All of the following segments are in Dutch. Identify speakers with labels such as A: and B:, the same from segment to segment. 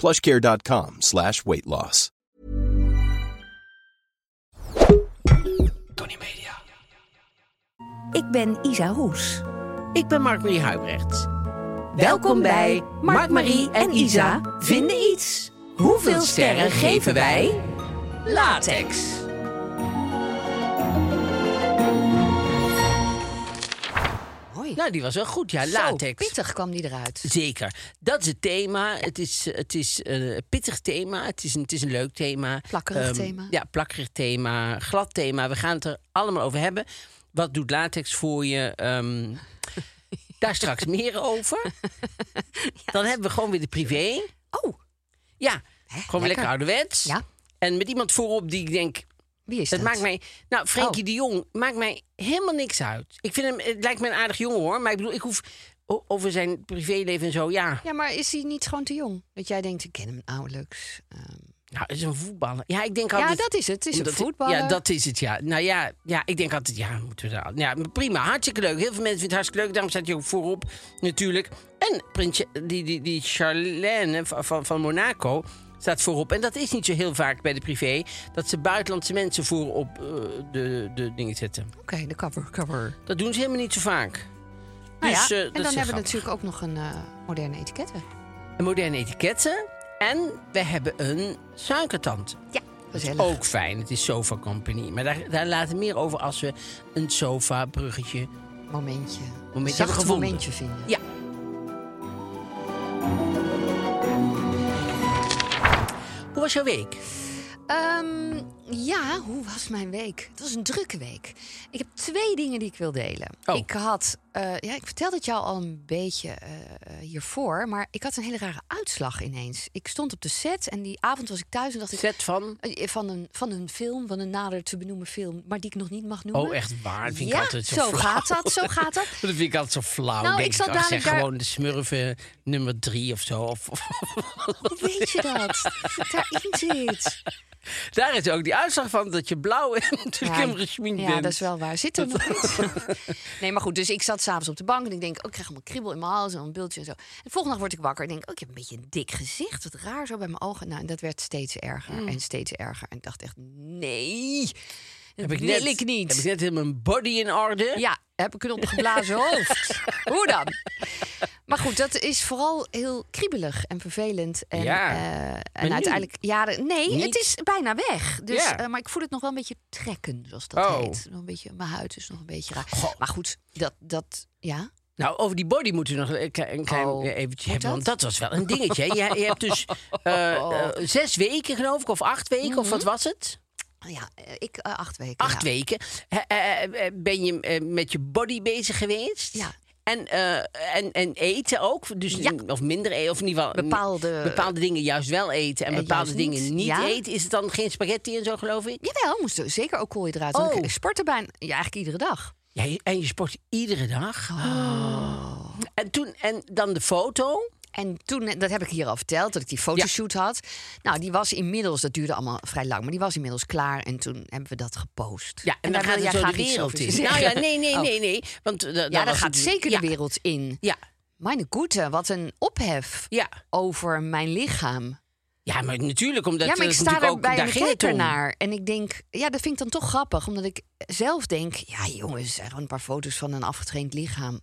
A: plushcare.com slash weight loss.
B: Tony Media.
C: Ik ben Isa Roes.
B: Ik ben Mark-Marie Huibrecht. Welkom bij Mark-Marie en Isa vinden iets. Hoeveel sterren geven wij? Latex.
D: Hoi.
B: Nou, die was wel goed, ja.
D: Zo,
B: Latex.
D: pittig kwam die eruit.
B: Zeker. Dat is het thema. Het is, het is eh, een pittig thema. Het is een, het is een leuk thema.
D: Plakkerig
B: Ehm,
D: thema.
B: Ja, plakkerig thema. Glad thema. We gaan het er allemaal over hebben. Wat doet latex voor je? Ehm, daar straks meer over. Dan hebben we gewoon weer de privé.
D: Oh,
B: Ja, gewoon lekker
D: lekker.
B: ouderwets.
D: Ja.
B: En met iemand voorop die ik denk,
D: wie is
B: dat
D: dat?
B: maakt mij. Nou, Frenkie
D: Oh.
B: de Jong maakt mij helemaal niks uit. Ik vind hem, het lijkt me een aardig jongen hoor. Maar ik bedoel, ik hoef o- over zijn privéleven en zo. Ja,
D: Ja, maar is hij niet gewoon te jong? Dat jij denkt, ik ken hem nauwelijks. Ehm,
B: nou, het is een voetballer. Ja, ik denk
D: ja,
B: altijd.
D: dat is het. Het is een
B: Omdat-
D: voetballer.
B: Ja, dat is het, ja. Nou ja, ja ik denk altijd, ja, moeten we daar... Ja, maar prima, hartstikke leuk. Heel veel mensen vinden het hartstikke leuk. Daarom staat hij ook voorop, natuurlijk. En prinsje, die, die, die Charlène van, van, van Monaco staat voorop. En dat is niet zo heel vaak bij de privé... dat ze buitenlandse mensen voorop eh, de, de dingen zetten.
D: Oké, de cover, cover.
B: Dat doen ze helemaal niet zo vaak.
D: Nou ja,
B: Dus, eh, dat
D: en dan
B: is
D: hebben we
B: grappig.
D: natuurlijk ook nog een eh, moderne etiketten.
B: Een moderne etiketten. En we hebben een suikertand.
D: Ja, gezellig.
B: Ook fijn, het is Sofa Company. Maar daar, daar laten we meer over als we een sofa-bruggetje
D: Momentje.
B: hebben we
D: Zacht
B: gevonden.
D: momentje vinden.
B: Ja. Hoe was jouw week?
D: Ehm, ja, hoe was mijn week? Het was een drukke week. Ik heb twee dingen die ik wil delen.
B: Oh.
D: Ik had, eh, ja, ik vertelde het jou al een beetje eh, eh, hiervoor, maar ik had een hele rare uitslag ineens. Ik stond op de set en die avond was ik thuis en dacht ik
B: Set van?
D: eh, van een, van een film, van een nader te benoemen film, maar die ik nog niet mag noemen.
B: Oh, echt waar? Dat vind
D: ja,
B: ik altijd zo, flauw.
D: gaat dat, zo gaat dat.
B: Dat vind ik altijd zo flauw.
D: Nou,
B: Denk
D: ik zat
B: ach, zeg,
D: namelijk daar-
B: gewoon de smurfen nummer drie of zo. Of, of-
D: Hoe weet je dat? Dat het daarin zit.
B: Daar is ook die uitslag van dat je blauw en de
D: Ja,
B: camera schmink
D: ja,
B: bent.
D: dat is wel waar. Zit er nog iets? Nee, maar goed, dus ik zat s'avonds op de bank en ik denk... Oh, ik krijg allemaal kriebel in mijn hals en een bultje en zo. En de volgende dag word ik wakker en denk... Oh, ik heb een beetje een dik gezicht. Wat raar zo bij mijn ogen. Nou, en dat werd steeds erger
B: Hmm.
D: en steeds erger. En ik dacht echt, nee, dat
B: Heb ik
D: wil
B: net,
D: ik niet.
B: Heb ik net helemaal mijn body in orde?
D: Ja, heb ik een opgeblazen hoofd. Hoe dan? Maar goed, dat is vooral heel kriebelig en vervelend. En,
B: Ja,
D: eh,
B: nu?
D: en uiteindelijk, ja, de- nee,
B: Niet?
D: het is bijna weg. Dus,
B: Ja.
D: eh, maar ik voel het nog wel een beetje trekken, zoals dat
B: Oh.
D: heet. Nog een beetje, mijn huid is nog een beetje raar. Maar goed, dat, dat ja.
B: Nou, over die body moeten we nog een klein, een klein
D: Oh,
B: eh, eventje hebben.
D: dat? Oh.
B: Want dat was wel een dingetje. hè. Je, je hebt dus eh, eh, zes weken, geloof ik, of acht weken, of
D: Mhm.
B: wat was het?
D: ja eh, ik eh, acht weken.
B: acht
D: ja.
B: weken eh, eh, eh, ben je eh, met je body bezig geweest.
D: Ja.
B: En, eh, en, en eten ook, dus
D: Ja.
B: n- of minder eten, of in ieder geval
D: Bepaalde-
B: bepaalde dingen juist wel eten en
D: Eh,
B: bepaalde
D: juist niet.
B: dingen niet
D: Ja.
B: eten. Is het dan geen spaghetti en zo, geloof ik?
D: Jawel, moest er zeker ook koolhydraten. Want
B: Oh.
D: ik sportte bijna, ja, eigenlijk iedere dag.
B: Ja, je- en je sport iedere dag.
D: Oh.
B: En, toen, en dan de foto.
D: En toen, dat heb ik hier al verteld, dat ik die fotoshoot had. Nou, die was inmiddels, dat duurde allemaal vrij lang, maar die was inmiddels klaar. En toen hebben we dat gepost.
B: Ja, en, dan,
D: daar
B: gaat
D: wil
B: het
D: jij
B: zo de
D: graag iets
B: wereld
D: over
B: in. Nou
D: zeggen.
B: ja, nee, nee,
D: Oh.
B: nee, nee. Want, eh, da- dan
D: Ja, daar
B: was
D: gaat
B: het-
D: zeker
B: ja.
D: de wereld in.
B: Ja,
D: Mijn goede, wat een ophef
B: ja.
D: over mijn lichaam.
B: ja, maar natuurlijk, omdat
D: ja, maar ik
B: dat
D: sta
B: natuurlijk
D: er
B: ook,
D: bij
B: daar
D: een
B: ging het
D: kijker
B: om.
D: naar. En ik denk, ja, dat vind ik dan toch grappig. Omdat ik zelf denk, ja jongens, er zijn gewoon een paar foto's van een afgetraind lichaam.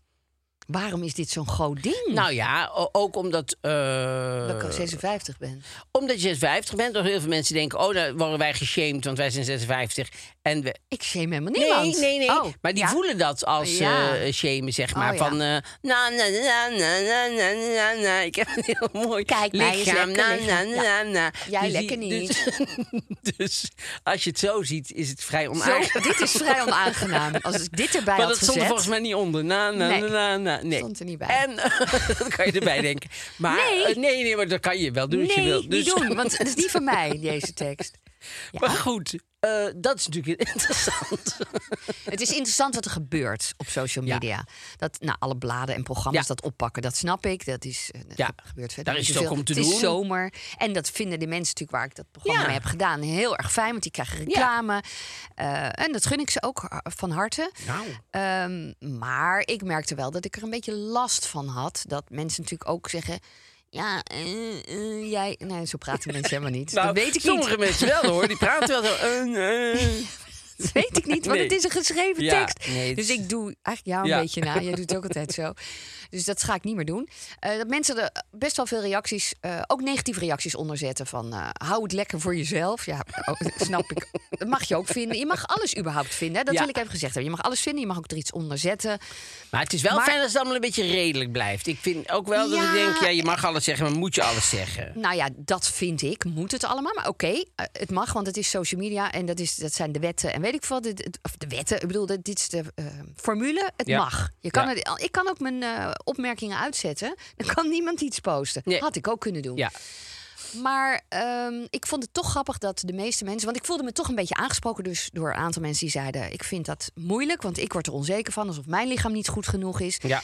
D: Waarom is dit zo'n groot ding?
B: Nou ja, o- ook omdat... eh,
D: Hmm. dat ik al 56 ben.
B: Omdat je 56 bent, nog heel veel mensen denken... oh, dan worden wij geshamed, want wij zijn 56. En we...
D: Ik shame helemaal
B: Nee,
D: niemand.
B: nee, nee.
D: Oh,
B: maar die
D: ja?
B: voelen dat als
D: Ja.
B: eh shamen, zeg maar.
D: Oh, ja.
B: Van eh, na, na, na, na, na, na, na, na. Ik heb een heel mooi
D: Kijk, mij is
B: lichaam.
D: lekker
B: na, na,
D: liggen. Ja.
B: na, na.
D: Jij lekker
B: die- Dus, dus als je het zo ziet, is het vrij onaangenaam.
D: Zo, dit is vrij onaangenaam. Als ik dit erbij
B: Maar
D: had
B: dat stond er
D: gezet.
B: volgens mij niet onder. Na, na,
D: Nee.
B: na, na, na. Nee.
D: Stond er niet bij.
B: En dat kan je erbij denken. Maar,
D: Nee.
B: eh, nee, nee, maar dat kan je wel doen als
D: nee,
B: je wilt. Dus-
D: niet doen, want het is niet van mij, deze tekst.
B: Maar goed, eh, dat is natuurlijk interessant.
D: Het is interessant wat er gebeurt op social
B: Ja.
D: media. Dat nou, alle bladen en programma's
B: Ja.
D: dat oppakken, dat snap ik. Dat is eh, dat
B: Ja.
D: gebeurt verder. niet
B: Daar is het
D: zoveel.
B: ook om te
D: Het is
B: doen.
D: zomer. En dat vinden de mensen natuurlijk waar ik dat programma
B: Ja.
D: mee heb gedaan heel erg fijn, want die krijgen reclame. Eh, en dat gun ik ze ook ha- van harte.
B: Nou.
D: Ehm, maar ik merkte wel dat ik er een beetje last van had. Dat mensen natuurlijk ook zeggen. Ja, eh, eh, jij. Nee, zo praten mensen helemaal niet.
B: Nou,
D: dat weet ik
B: sommige
D: niet.
B: mensen wel hoor, die praten wel zo. eh, eh.
D: Dat weet ik niet, want
B: Nee.
D: het is een geschreven
B: Ja,
D: tekst.
B: nee, het
D: dus
B: is-
D: ik doe eigenlijk jou een
B: Ja.
D: beetje na. Jij doet het ook altijd zo. Dus dat ga ik niet meer doen. Eh, dat mensen er best wel veel reacties, eh, ook negatieve reacties onder zetten. Van eh, hou het lekker voor jezelf. Ja, oh, dat snap ik. Dat mag je ook vinden. Je mag alles überhaupt vinden. hè. Dat
B: Ja.
D: wil ik even gezegd hebben. Je mag alles vinden. Je mag ook er iets onder zetten.
B: Maar het is wel
D: Maar-
B: fijn als het allemaal een beetje redelijk blijft. Ik vind ook wel dat
D: Ja.
B: ik denk, ja, je mag alles zeggen, maar moet je alles zeggen?
D: Nou ja, dat vind ik. Moet het allemaal. Maar oké, eh, het mag, want het is social media. En dat, is, dat zijn de wetten. En weet ik veel. Dit, het- of de wetten. Ik bedoel, dit, dit is de eh, formule. Het
B: Ja.
D: mag. Je kan
B: Ja.
D: het, ik kan ook mijn eh, opmerkingen uitzetten. Dan kan niemand iets posten.
B: Nee.
D: Had ik ook kunnen doen.
B: Ja.
D: Maar ehm, ik vond het toch grappig dat de meeste mensen. Want ik voelde me toch een beetje aangesproken dus door een aantal mensen die zeiden: Ik vind dat moeilijk, want ik word er onzeker van alsof mijn lichaam niet goed genoeg is.
B: Ja.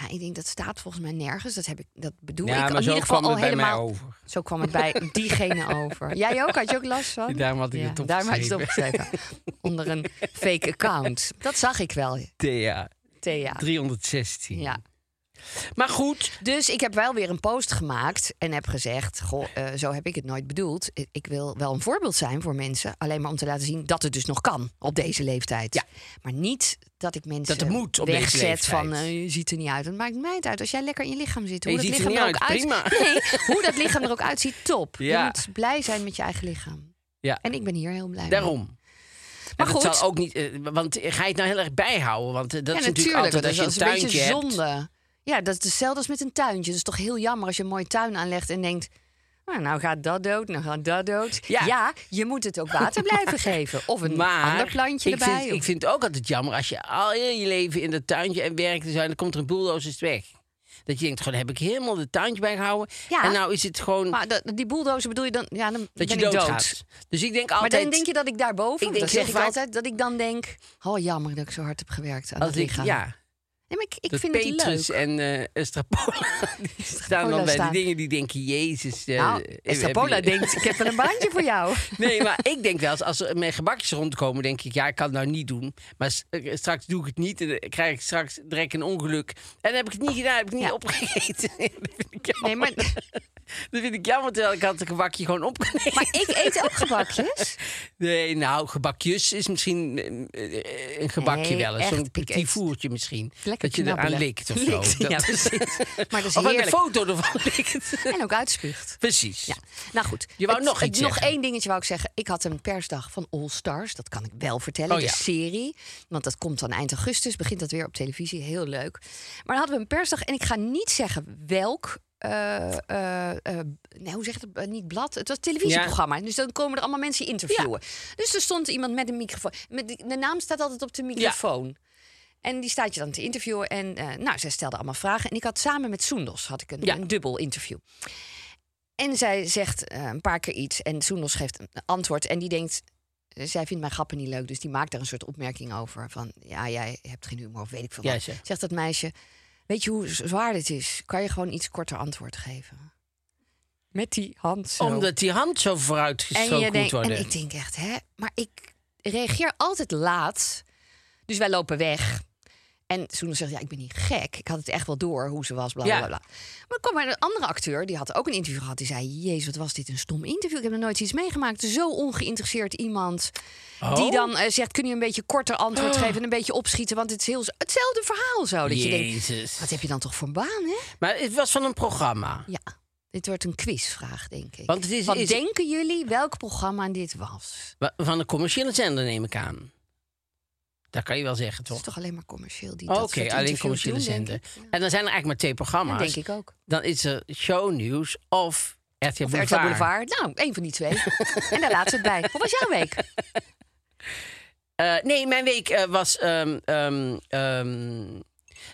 D: Ja, ik denk dat staat volgens mij nergens. Dat heb ik, dat bedoel
B: Ja,
D: ik.
B: maar
D: in
B: zo
D: ieder geval
B: kwam
D: al
B: het bij mij
D: helemaal.
B: over.
D: Zo kwam het bij diegene over. Jij ook? Had je ook last van?
B: Daarom had ik het opgeschreven.
D: Daarom had je het opgeschreven. Onder een fake account. Dat zag ik wel,
B: Thea,
D: Thea.
B: 316.
D: Ja.
B: Maar goed,
D: Dus ik heb wel weer een post gemaakt en heb gezegd: Goh, eh, zo heb ik het nooit bedoeld. Ik- Ik wil wel een voorbeeld zijn voor mensen. Alleen maar om te laten zien dat het dus nog kan op deze leeftijd.
B: Ja.
D: Maar niet dat ik mensen
B: Dat het moet op deze
D: wegzet
B: leeftijd.
D: van eh, je ziet er niet uit. Dat maakt mij het uit. Als jij lekker in je lichaam zit, hoe
B: Je
D: dat
B: ziet er
D: lichaam er
B: niet
D: ook
B: uit, prima.
D: Nee, hoe dat lichaam er ook uitziet, top. Je
B: Ja.
D: moet blij zijn met je eigen lichaam.
B: ja,
D: En ik ben hier heel blij mee.
B: daarom.
D: Maar
B: En
D: goed.
B: dat zal ook niet, eh, want ga je het nou heel erg bijhouden? Want eh, dat
D: ja,
B: is
D: natuurlijk.
B: natuurlijk altijd
D: Dat
B: als
D: is
B: je een
D: een beetje
B: tuintje hebt.
D: zonde. Ja, dat is hetzelfde als met een tuintje. Dat is toch heel jammer als je een mooie tuin aanlegt en denkt... Nou, nou gaat dat dood, nou gaat dat dood. Ja,
B: Ja.
D: je moet het ook water blijven geven. Of een
B: Maar
D: ander plantje
B: ik
D: erbij.
B: Vind,
D: of-
B: ik vind het ook altijd jammer als je al heel je leven in dat tuintje en werkt en zo, en dan komt er een bulldozer is het weg. Dat je denkt, gewoon heb ik helemaal de tuintje bijgehouden.
D: Ja.
B: En nou is het gewoon
D: Maar dat- die bulldozer bedoel je dan... Ja, dan
B: dat
D: ben
B: je
D: ik dood.
B: doodgaat. Dus ik denk
D: Maar
B: altijd.
D: dan denk je dat ik daarboven...
B: Ik
D: Ik
B: denk
D: dat zeg
B: heel
D: ik
B: vaak-
D: altijd, dat ik dan denk... Oh, jammer dat ik zo hard heb gewerkt aan
B: als
D: dat
B: ik,
D: lichaam.
B: ja,
D: Nee, maar ik, ik
B: dat
D: vind
B: Petrus
D: het leuk.
B: en eh Estrapola die staan
D: Estrapola
B: dan bij
D: staan.
B: die dingen die denken, Jezus. eh,
D: Nou,
B: eh, heb
D: Estrapola
B: je-
D: denkt, ik heb er een baantje voor jou.
B: Nee, maar ik denk wel eens, als er mijn gebakjes rondkomen, denk ik, ja, ik kan het nou niet doen. Maar s- eh, straks doe ik het niet en dan krijg ik straks direct een ongeluk. En dan heb ik het niet gedaan, heb ik niet
D: Ja.
B: opgegeten. dat vind ik jammer.
D: Nee, maar...
B: Dat vind ik jammer, terwijl ik had een gebakje gewoon op kunnen eten.
D: Maar ik eet ook gebakjes.
B: Nee, nou, gebakjes is misschien eh, eh, een gebakje
D: Nee,
B: wel eens.
D: echt,
B: Zo'n
D: ik
B: petit
D: eet-
B: voertje misschien.
D: Lekker
B: dat je eraan
D: knabbelen.
B: likt of zo.
D: Likt, ja,
B: Dat is-
D: precies. Maar dat is
B: of aan de
D: heerlijk.
B: foto ervan likt.
D: En ook uitspuugt.
B: Precies.
D: Ja, nou goed.
B: Je wou nog iets
D: Nog
B: zeggen.
D: één dingetje wou ik zeggen. Ik had een persdag van All Stars. Dat kan ik wel vertellen.
B: Oh, ja.
D: De serie. Want dat komt dan eind augustus. Begint dat weer op televisie. Heel leuk. Maar dan hadden we een persdag. En ik ga niet zeggen welk... eh, eh, eh, nee, hoe zeg je dat? Eh, niet blad. Het was een televisieprogramma. Dus dan komen er allemaal mensen interviewen. Dus er stond iemand met een microfoon. Met de, de naam staat altijd op de microfoon. En die staat je dan te interviewen. En eh, nou, zij stelde allemaal vragen. En ik had samen met Soendos had ik een,
B: Ja.
D: een dubbel interview. En zij zegt eh, een paar keer iets. En Soendos geeft een antwoord. En die denkt, eh, zij vindt mijn grappen niet leuk. Dus die maakt daar een soort opmerking over. Van, ja, jij hebt geen humor of weet ik veel
B: Ja,
D: wat.
B: zeg.
D: Zegt dat meisje, weet je hoe zwaar dit is? Kan je gewoon iets korter antwoord geven? Met die hand zo.
B: Omdat die hand zo
D: En, je
B: vooruitgestoken moet
D: denkt, en
B: worden.
D: ik denk echt, hè? Maar ik reageer altijd laat. Dus wij lopen weg. En Soenen zegt, ja, ik ben niet gek. Ik had het echt wel door hoe ze was, bla,
B: Ja.
D: bla, bla. Maar er kwam er een andere acteur, die had ook een interview gehad. Die zei, jezus, wat was dit een stom interview. Ik heb nog nooit iets meegemaakt. Zo ongeïnteresseerd iemand.
B: Oh?
D: Die dan eh, zegt, kun je een beetje korter antwoord geven... en een beetje opschieten, want het is heel hetzelfde verhaal zo. Dat je denkt,
B: Jezus.
D: wat heb je dan toch voor een baan, hè?
B: Maar het was van een programma.
D: Ja, dit wordt een quizvraag, denk ik.
B: Want het is-
D: Wat
B: is-
D: denken jullie welk programma dit was?
B: Wa- Van een commerciële zender, neem ik aan. Dat kan je wel zeggen,
D: Het is
B: toch?
D: toch alleen maar commercieel die
B: Oké,
D: dat soort
B: alleen
D: interviews
B: commerciële
D: doen, denk
B: zender.
D: ik. Ja.
B: En dan zijn er eigenlijk maar twee
D: Dat
B: programma's.
D: denk ik ook.
B: Dan is er shownieuws of RTL
D: Of
B: Boulevard.
D: RTL Boulevard. Nou, één van die twee. en daar laat ze het bij. Hoe was jouw week?
B: Eh, nee, mijn week eh, was... ehm, ehm, ehm,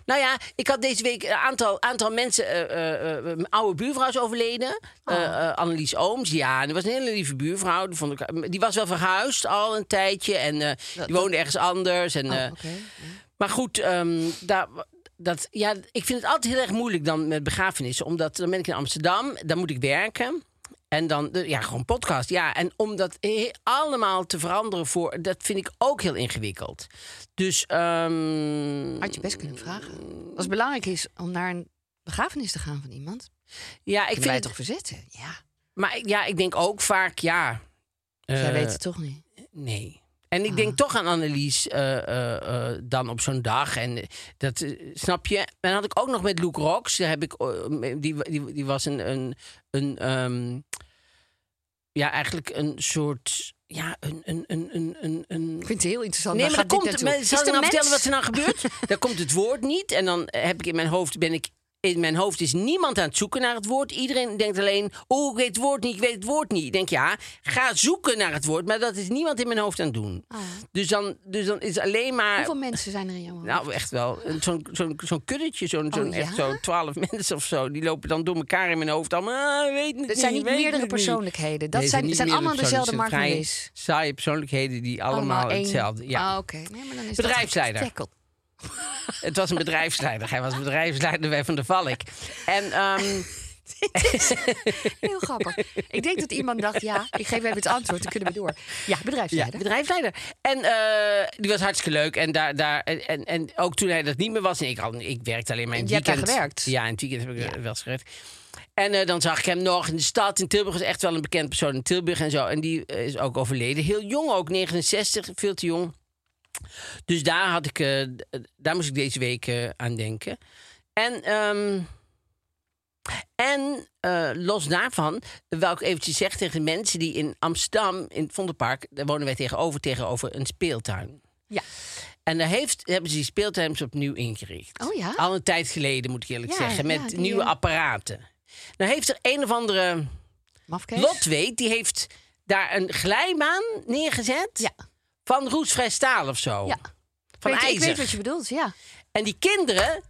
B: nou ja, ik had deze week een aantal, aantal mensen... eh, eh, eh, mijn oude buurvrouw is overleden.
D: Oh.
B: Eh eh, Annelies Ooms, ja. En dat was een hele lieve buurvrouw. Die, vond ik, die was wel verhuisd al een tijdje. En eh, die woonde ergens anders. En, eh,
D: Oh, oké.
B: Maar goed, ehm, daar, dat, ja, ik vind het altijd heel erg moeilijk dan met begrafenissen. Omdat dan ben ik in Amsterdam, dan moet ik werken. En dan, de- ja, gewoon podcast. Ja, en om dat he- allemaal te veranderen voor, dat vind ik ook heel ingewikkeld. Dus, ehm,
D: Had je best kunnen vragen. Als het belangrijk is om naar een begrafenis te gaan van iemand.
B: ja, ik
D: Ik vind
B: vind
D: je
B: het,
D: toch verzetten? Ja.
B: maar ik- ja, ik denk ook vaak, ja.
D: Zij
B: eh,
D: weet het toch niet.
B: Nee. En ik denk toch aan Annelies eh, eh, eh, dan op zo'n dag. En eh, dat eh, snap je. En dan had ik ook nog met Luke Rox. Daar heb ik, eh, die, die, die was een. een, een ehm, ja, eigenlijk een soort. Ja, een. een, een, een, een, een
D: Ik vind het heel interessant.
B: Nee,
D: Waar
B: maar
D: gaat
B: dan komt
D: dit
B: het.
D: naartoe?
B: maar Zal ik
D: Is er
B: nou
D: een
B: vertellen
D: mens?
B: wat er nou gebeurt? dan komt het woord niet. En dan heb ik in mijn hoofd ben ik. In mijn hoofd is niemand aan het zoeken naar het woord. Iedereen denkt alleen, oh, ik weet het woord niet, ik weet het woord niet. Ik denk, ja, ga zoeken naar het woord. Maar dat is niemand in mijn hoofd aan het doen. Dus, dan, dus dan is alleen maar...
D: Ah. Hoeveel mensen zijn er in jouw hoofd?
B: Nou, echt wel. Een- Zo'n zo'n zo'n kuddetje, zo'n zo'n
D: ja?
B: echt zo'n twaalf mensen of zo. Die lopen dan door elkaar in mijn hoofd. Allemaal, ah, ik weet het niet.
D: Het zijn niet
B: ik weet
D: meerdere
B: het
D: persoonlijkheden. Dat
B: Nee, het
D: zijn,
B: niet
D: zijn
B: meerdere
D: allemaal dezelfde
B: persoonlijkheden. Het zijn
D: marginalis.
B: vrij Saaie persoonlijkheden die allemaal,
D: één.
B: hetzelfde. Ja.
D: Ah, oké. Nee, maar dan is dat
B: Bedrijfsleider.
D: getackled.
B: Het was een bedrijfsleider. Hij was bedrijfsleider bij Van der Valk. En ehm,
D: Heel grappig. Ik denk dat iemand dacht, ja, ik geef even het antwoord, dan kunnen we door. Ja,
B: ja,
D: bedrijfsleider.
B: bedrijfsleider. En eh, die was hartstikke leuk. En, daar, daar, en, en- en ook toen hij dat niet meer was. En ik, al, ik werkte alleen maar in het
D: Je hebt daar
B: weekend.
D: gewerkt?
B: Ja, in het weekend heb ik eh, wel eens gewerkt. En eh, dan zag ik hem nog in de stad. In Tilburg is echt wel een bekend persoon in Tilburg en zo. En die eh, is ook overleden. Heel jong ook, 69, veel te jong. Dus daar, had ik, eh, d- daar moest ik deze week eh, aan denken. En, ehm, en eh, los daarvan wou ik eventjes zeggen tegen de mensen die in Amsterdam, in het Vondelpark, daar wonen wij tegenover, tegenover een speeltuin.
D: Ja.
B: En daar heeft, hebben ze die speeltuin opnieuw ingericht.
D: Oh ja?
B: Al een tijd geleden, moet ik eerlijk
D: Ja,
B: zeggen,
D: ja,
B: met
D: die,
B: nieuwe
D: eh,
B: apparaten. Nou heeft er een of andere
D: Mafkees.
B: Lot weet, die heeft daar een glijbaan neergezet
D: Ja.
B: van roestvrij staal of zo.
D: Ja.
B: Van
D: Ik weet-
B: ijzer.
D: Ik weet wat je bedoelt, ja.
B: En die kinderen,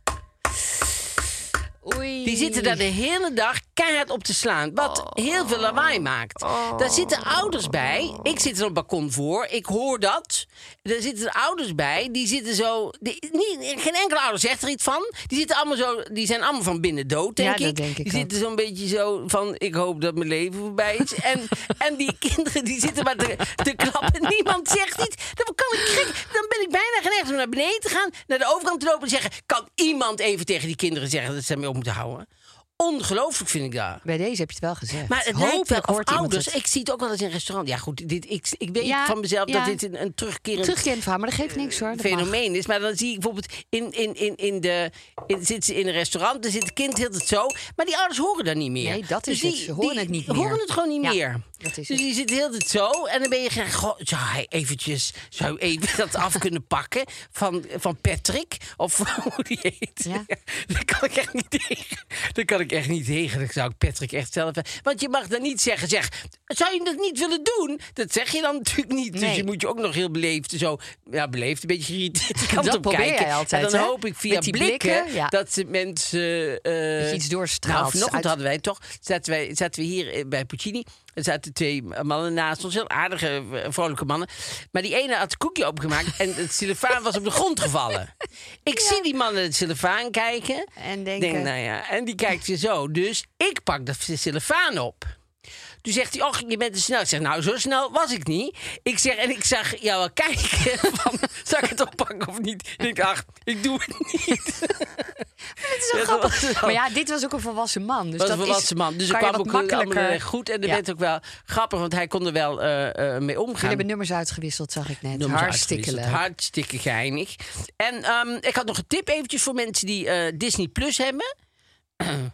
D: Oei.
B: die zitten daar de hele dag keihard op te slaan. Wat heel veel lawaai maakt. Daar zitten ouders bij. Ik zit er op het balkon voor. Ik hoor dat. Daar zitten er ouders bij. Die zitten zo... die- niet, geen enkele ouder zegt er iets van. Die, zitten allemaal zo, die zijn allemaal van binnen dood, denk
D: Ja, dat
B: ik.
D: denk ik
B: die
D: ook.
B: zitten zo'n beetje zo van... Ik hoop dat mijn leven voorbij is. en, en die kinderen die zitten maar te, te klappen. Niemand zegt iets. Dan kan ik gek. Dan ben ik bijna geneigd om naar beneden te gaan. Naar de overkant te lopen en zeggen... Kan iemand even tegen die kinderen zeggen dat ze ermee op moeten houden? Ongelooflijk vind ik dat.
D: Bij deze heb je het wel gezegd.
B: Maar het
D: Hopelijk
B: lijkt wel
D: hoort
B: of
D: iemand
B: ouders.
D: het.
B: Ik zie het ook wel eens in een restaurant. Ja, goed, dit, ik, ik weet
D: Ja,
B: van mezelf
D: ja.
B: dat dit een, een terugkerend
D: Terugkeren van, maar dat geeft niks hoor. dat mag.
B: fenomeen is. Maar dan zie ik bijvoorbeeld in, in, in, in de. In, zit ze in een restaurant, dan zit het kind heel het zo. Maar die ouders horen dat niet meer. Dus
D: Nee, dat is
B: die,
D: het. Ze horen
B: die
D: het niet meer.
B: horen het gewoon niet
D: Ja,
B: meer.
D: dat is
B: dus
D: het.
B: die zit heel het zo. En dan ben je graag. Goh, zou hij eventjes. Zou je even dat af kunnen pakken van, van Patrick? Of hoe die heet.
D: Ja.
B: Dat kan ik echt niet tegen. Dat kan ik echt niet tegen. Dat zou ik Patrick echt zelf. Want je mag dan niet zeggen, zeg, zou je dat niet willen doen? Dat zeg je dan natuurlijk niet. Dus
D: Nee.
B: je moet je ook nog heel beleefd zo, ja, beleefd, een beetje geïrriteerd die kant
D: Dat
B: op
D: probeer
B: kijken.
D: jij altijd,
B: en dan
D: hè?
B: hoop ik via
D: Met die
B: blikken,
D: blikken, ja.
B: dat ze mensen eh,
D: Dat je iets doorstraalt
B: nou, vanochtend
D: uit-
B: hadden wij toch, zaten, wij, zaten we hier eh, bij Puccini. Er zaten twee mannen naast ons, heel aardige, eh, vrolijke mannen. Maar die ene had het koekje opengemaakt en het silofaan was op de grond gevallen. Ik zie die man naar het silofaan kijken.
D: En denken-
B: Denk, nou ja, en die kijkt weer zo. Dus ik pak dat silofaan op. Toen zegt hij, och, je bent te snel. Ik zeg, nou, zo snel was ik niet. Ik zeg, en ik zag jou wel kijken. Van, zal ik het oppakken of niet? En ik dacht, ik doe het niet.
D: Het is zo
B: Ja, dat
D: grappig.
B: was wel-
D: Maar ja, dit was ook een volwassen man. Dus dat
B: was een volwassen
D: is,
B: man. Dus ik
D: kan
B: kwam
D: je
B: ook
D: wat
B: allemaal
D: makkelijker.
B: erg goed. En dat
D: Ja.
B: werd ook wel grappig, want hij kon er wel eh, eh, mee
D: Jullie
B: omgaan.
D: hebben nummers uitgewisseld, zag ik net.
B: Noem ze
D: Hartstikke
B: uitgewisseld.
D: leuk.
B: Hartstikke geinig. En ehm, ik had nog een tip eventjes voor mensen die eh, Disney Plus hebben.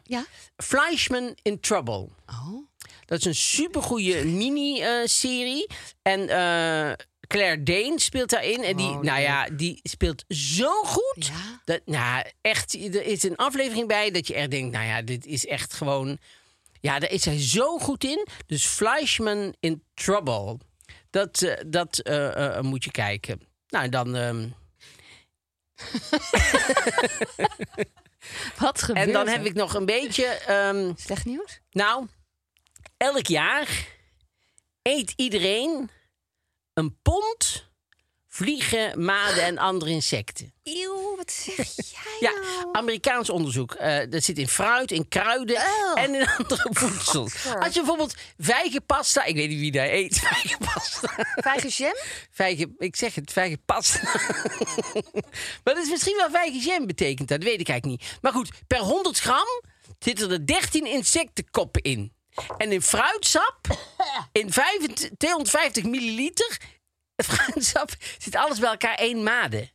D: Ja?
B: Fleischman in Trouble.
D: Oh.
B: Dat is een supergoeie mini-serie. en eh, Claire Danes speelt daarin. En die,
D: Oh,
B: nou ja, die speelt zo goed.
D: Ja.
B: Dat, nou, echt, er is een aflevering bij dat je echt denkt... nou ja, dit is echt gewoon... Ja, daar is hij zo goed in. Dus Fleischman in Trouble. Dat, eh, dat eh, eh, moet je kijken. Nou, en dan... ehm,
D: Wat gebeurt
B: en dan
D: er?
B: heb ik nog een beetje... ehm,
D: Slecht nieuws?
B: Nou, elk jaar eet iedereen een pond vliegen, maden en andere insecten.
D: Eeuw, wat zeg jij
B: Ja, Amerikaans onderzoek. Eh, dat zit in fruit, in kruiden en in andere voedsel. Als je bijvoorbeeld vijgenpasta... Ik weet niet wie daar eet vijgenpasta.
D: Vijgenjam?
B: Vijgen, ik zeg het, vijgenpasta. maar dat is misschien wel vijgenjam betekent dat, weet ik eigenlijk niet. Maar goed, per 100 gram zitten er 13 insectenkoppen in. En in fruitsap, in 25 250 milliliter fruitsap, zit alles bij elkaar één made.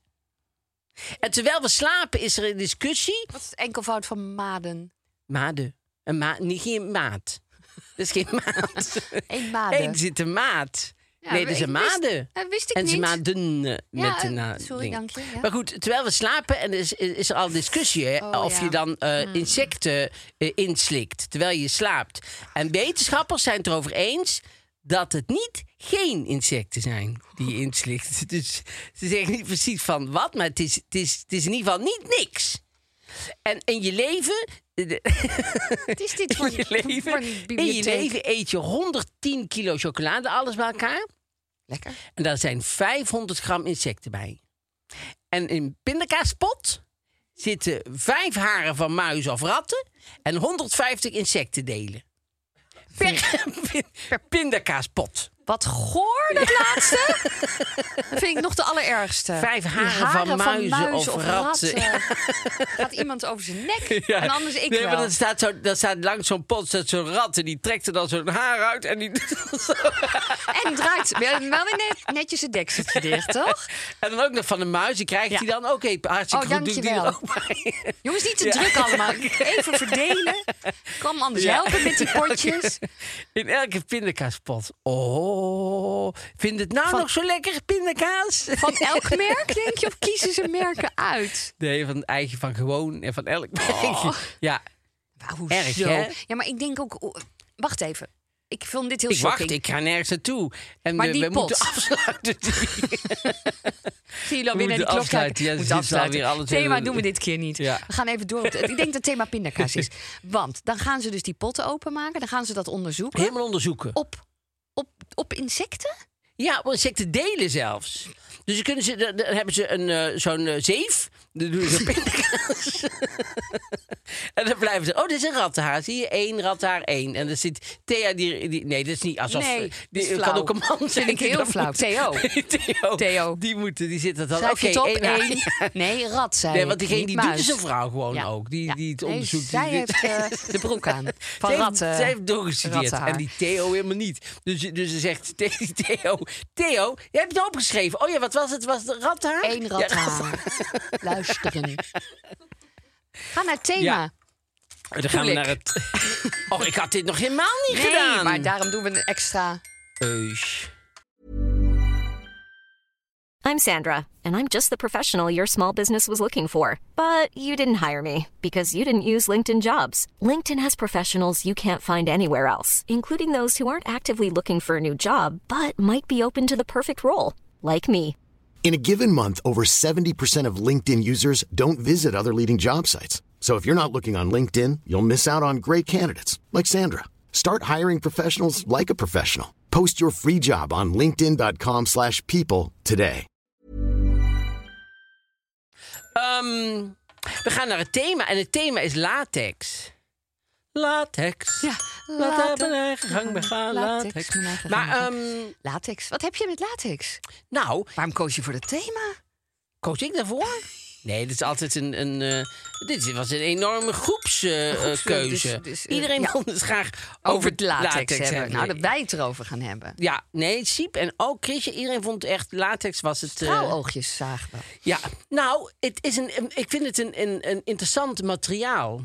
B: En terwijl we slapen is er een discussie.
D: Wat is het enkelvoud van maden?
B: Made. Een ma niet geen maat. Dat is geen maat.
D: Eén maden.
B: Eén zit een maat.
D: Ja,
B: nee, dat is
D: ik
B: een
D: wist-
B: made.
D: dat wist ik
B: en ze
D: niet.
B: maden eh, met de na-
D: sorry,
B: ding.
D: dank je, ja.
B: Maar goed, terwijl we slapen en er is, is er al discussie hè,
D: Oh,
B: of
D: ja.
B: je dan eh, insecten eh, inslikt terwijl je slaapt. En wetenschappers zijn het erover eens dat het niet geen insecten zijn die je inslikt. Dus ze zeggen niet precies van wat, maar het is, het is, het is in ieder geval niet niks. En in je leven, eh,
D: Wat is dit voor,
B: in je leven,
D: voor een
B: in je
D: bibliotheek?
B: leven eet je 110 kilo chocolade, alles bij elkaar.
D: Lekker.
B: En daar zijn 500 gram insecten bij. En in pindakaaspot zitten vijf haren van muizen of ratten en 150 insectendelen. Per, per pindakaaspot.
D: Wat goor, dat laatste. Dat vind ik nog de allerergste.
B: Vijf
D: Die
B: haren van muizen of ratten.
D: Gaat iemand over zijn nek?
B: Ja.
D: En anders ik
B: nee,
D: wel.
B: maar dan staat, zo, dan staat langs zo'n pot staat zo'n rat en die trekt er dan zo'n haar uit en die doet dan zo.
D: En draait wel wel weer net, netjes het dekseltje dicht, toch?
B: En dan ook nog van de muis, die krijgt
D: Ja.
B: hij dan. Oké, hartstikke
D: Oh,
B: goed, doe ik die er
D: dankjewel.
B: ook bij.
D: Jongens, niet te
B: Ja.
D: druk allemaal. Even verdelen. Kom anders
B: Ja.
D: helpen met die potjes.
B: In elke pindakaaspot. Oh, vind het nou
D: Van-
B: nog zo lekker, pindakaas?
D: Van elk merk, denk je, of kiezen ze merken uit?
B: Nee, van eigen, van gewoon en van elk merkje. Ja,
D: Nou, hoezo?
B: Erg, hè?
D: Ja, maar ik denk ook... o- Wacht even. Ik vond dit heel
B: ik
D: shocking.
B: wacht, ik ga nergens naartoe. En
D: Maar
B: we,
D: die
B: we
D: pot.
B: moeten afsluiten.
D: Zie je dan weer naar die
B: moeten
D: klok kijken.
B: afsluiten. Ja, ze
D: Moet
B: zitten
D: afsluiten.
B: alweer alles
D: thema
B: in-
D: doen we dit keer niet.
B: Ja.
D: We gaan even door. op de- Ik denk dat het thema pindakaas is. Want dan gaan ze dus die potten openmaken. Dan gaan ze dat onderzoeken.
B: Helemaal onderzoeken.
D: Op, op, op insecten?
B: Ja, want insecten delen zelfs. Dus dan, kunnen ze, dan dan hebben ze een, eh, zo'n eh, zeef. Dan doen ze pindakaas. en dan blijven ze... Oh, dit is een rattenhaar. Zie je? Eén rattenhaar, één. En dan zit Thea... Die, die- nee, dat is niet alsof...
D: Nee,
B: die,
D: dat is
B: kan
D: flauw.
B: ook een man zijn.
D: ik
B: die
D: heel
B: dat
D: flauw.
B: moet.
D: Theo.
B: Theo.
D: Theo.
B: Die, moeten, die zit dat dan...
D: Schrijf je het op?
B: één haar.
D: Eén. Nee, rat zijn.
B: Nee, want diegene
D: Niet
B: die doet
D: muis.
B: is een vrouw gewoon
D: Ja.
B: ook. Die,
D: Ja.
B: die het
D: Nee,
B: onderzoek...
D: zij
B: die,
D: heeft eh, de broek aan. Van
B: zij, heeft-
D: ratten.
B: zij heeft doorgestudeerd.
D: rattenhaar.
B: En die Theo helemaal niet. Dus, dus ze zegt tegen die Theo... Theo, jij hebt het opgeschreven. Oh ja, wat was het? Was het rattenhaar?
D: Eén rat
B: Ja,
D: aan. Luisteren. Ga naar het thema.
B: Ja, dan gaan we
D: Tuurlijk.
B: naar het... Oh, ik had dit nog helemaal niet
D: Nee,
B: gedaan.
D: maar daarom doen we een extra...
B: Eus.
E: I'm Sandra, and I'm just the professional your small business was looking for. But you didn't hire me because you didn't use LinkedIn jobs. LinkedIn has professionals you can't find anywhere else, including those who aren't actively looking for a new job but might be open to the perfect role, like me.
F: In a given month, over 70% of LinkedIn users don't visit other leading job sites. So if you're not looking on LinkedIn, you'll miss out on great candidates like Sandra. Start hiring professionals like a professional. Post your free job on linkedin.com/people slash people today.
B: Ehm, we gaan naar het thema. En het thema is latex. Latex.
D: Ja,
B: Laat
D: Latex.
B: hebben mijn eigen gang begaan.
D: Latex,
B: Latex.
D: mijn eigen gang
B: Maar,
D: begaan.
B: ehm,
D: Latex. Wat heb je met latex?
B: nou,
D: Waarom koos je voor dat thema?
B: Koos ik daarvoor? Nee, dit is altijd een. een eh, dit was een enorme groepskeuze.
D: groepsleuk, dus- dus, eh,
B: Iedereen
D: ja.
B: wilde het graag
D: Over, het latex, hebben. Nou, dat
B: Nee.
D: wij het erover gaan hebben.
B: Ja, nee, Siep en ook Chrisje. Iedereen vond echt latex was het. eh,
D: Trouwoogjes zagen we.
B: ja, nou, het is een, een- ik vind het een, een, een interessant materiaal.